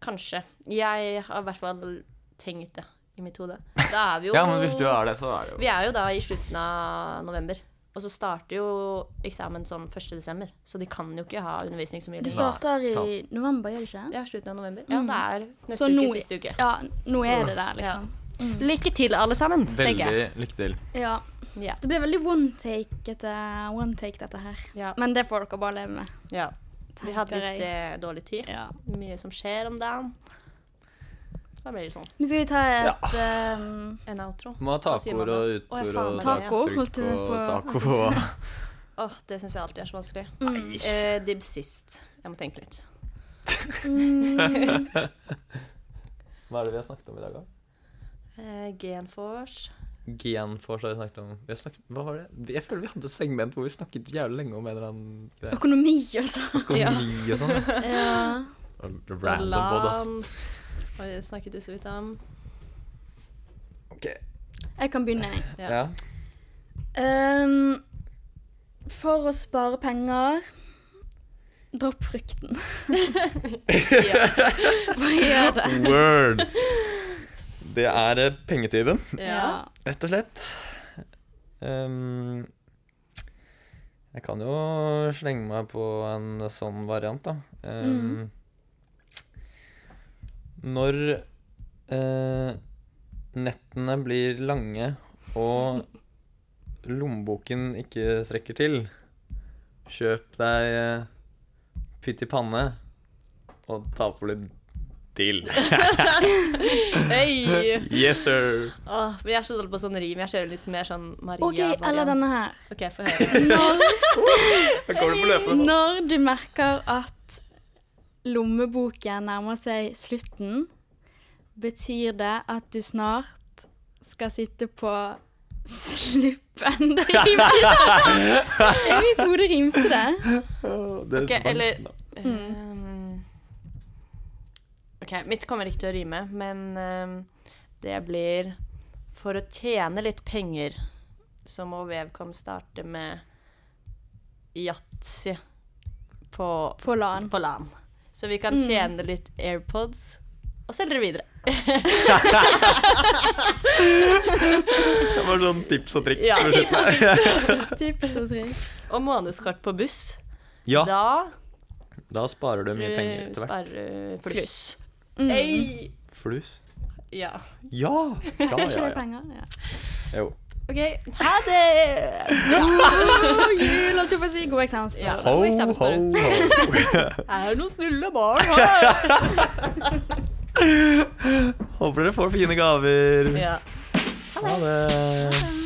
Kanskje. Jeg har i hvert fall tenkt det i mitt hode. Da er vi jo Ja, men hvis du er det, så er det jo Vi er jo da i slutten av november. Og så starter jo eksamen sånn 1. desember, så de kan jo ikke ha undervisning så mye Det lenger. starter i sant. november, gjør det ikke? Ja, slutten av november. Ja, Mm. det er neste Så uke, nå- siste uke. Ja, nå er det der, liksom. Lykke til, alle sammen, tenker jeg. Veldig lykke til. Ja. Ja. Det blir veldig one take, etter, one take dette her. Ja, Men det får dere bare leve med. ja. Vi hadde tenker litt jeg. eh, dårlig tid. Ja. Mye som skjer om dagen. Så da blir det sånn. Men skal vi ta et ehm, En outro. Må ha Hva sier tacoer man da? og Å, ja, utord faen, og det er det, ja. Taco, holdt jeg og på å taco og Åh, det syns jeg alltid er så vanskelig. mm, Eh, Dibb sist. Jeg må tenke litt. mm, Hva er det vi har snakket om i dag, da? Eh, Genforce. Genforce har vi snakket om. Vi har snakket, hva var det? Jeg føler vi hadde et segment hvor vi snakket jævlig lenge om en eller annen greie. Økonomi, altså. Økonomi og sånn. Ja. Random pod, ass. Lan. Og jeg snakket du så vidt om? Ok. Jeg kan begynne. jeg. Ja. Ja. Ehm, for å spare penger Dropp frykten. Hva gjør det? Word! Det er eh, pengetyven, Ja. rett og slett. Ehm, jeg kan jo slenge meg på en sånn variant, da. Ehm, Mhm. Når eh, nettene blir lange og lommeboken ikke strekker til, kjøp deg eh, pytt i panne og ta på litt dill. Hei! Yes, sir! Åh, men jeg er så dårlig på sånn rim. Jeg kjører litt mer sånn Maria. OK, eller denne her. OK, få høre. Når, Jeg kommer på løpende. når du merker at lommeboken nærmer seg slutten, betyr det at du snart skal sitte på Slippen. Det rimte. I mitt hode rimte det. Det Ok, eller- da. Mm. Um, OK, mitt kommer ikke til å rime, men um, det blir For å tjene litt penger så må Vevkom starte med yatzy på, På LAN. på LAN. Så vi kan tjene litt AirPods og selge det videre. Det var sånn tips og triks. Ja. for å slutte. Tips og triks. Og månedskort på buss. ja. Da eh, Da sparer du mye penger etter hvert. sparer du fluss. Mm. Ei! Fluss. Ja. Ja! Ja, Er ikke ja, det ja. penger? Ja. Jo. OK, ha det! God jul, holdt jeg på å si. God eksamensprøve. Ja. Ho, Og ho, eksamensprøve. ho. Er noen snille barn her? Håper dere får fine gaver. Ja. Ha det.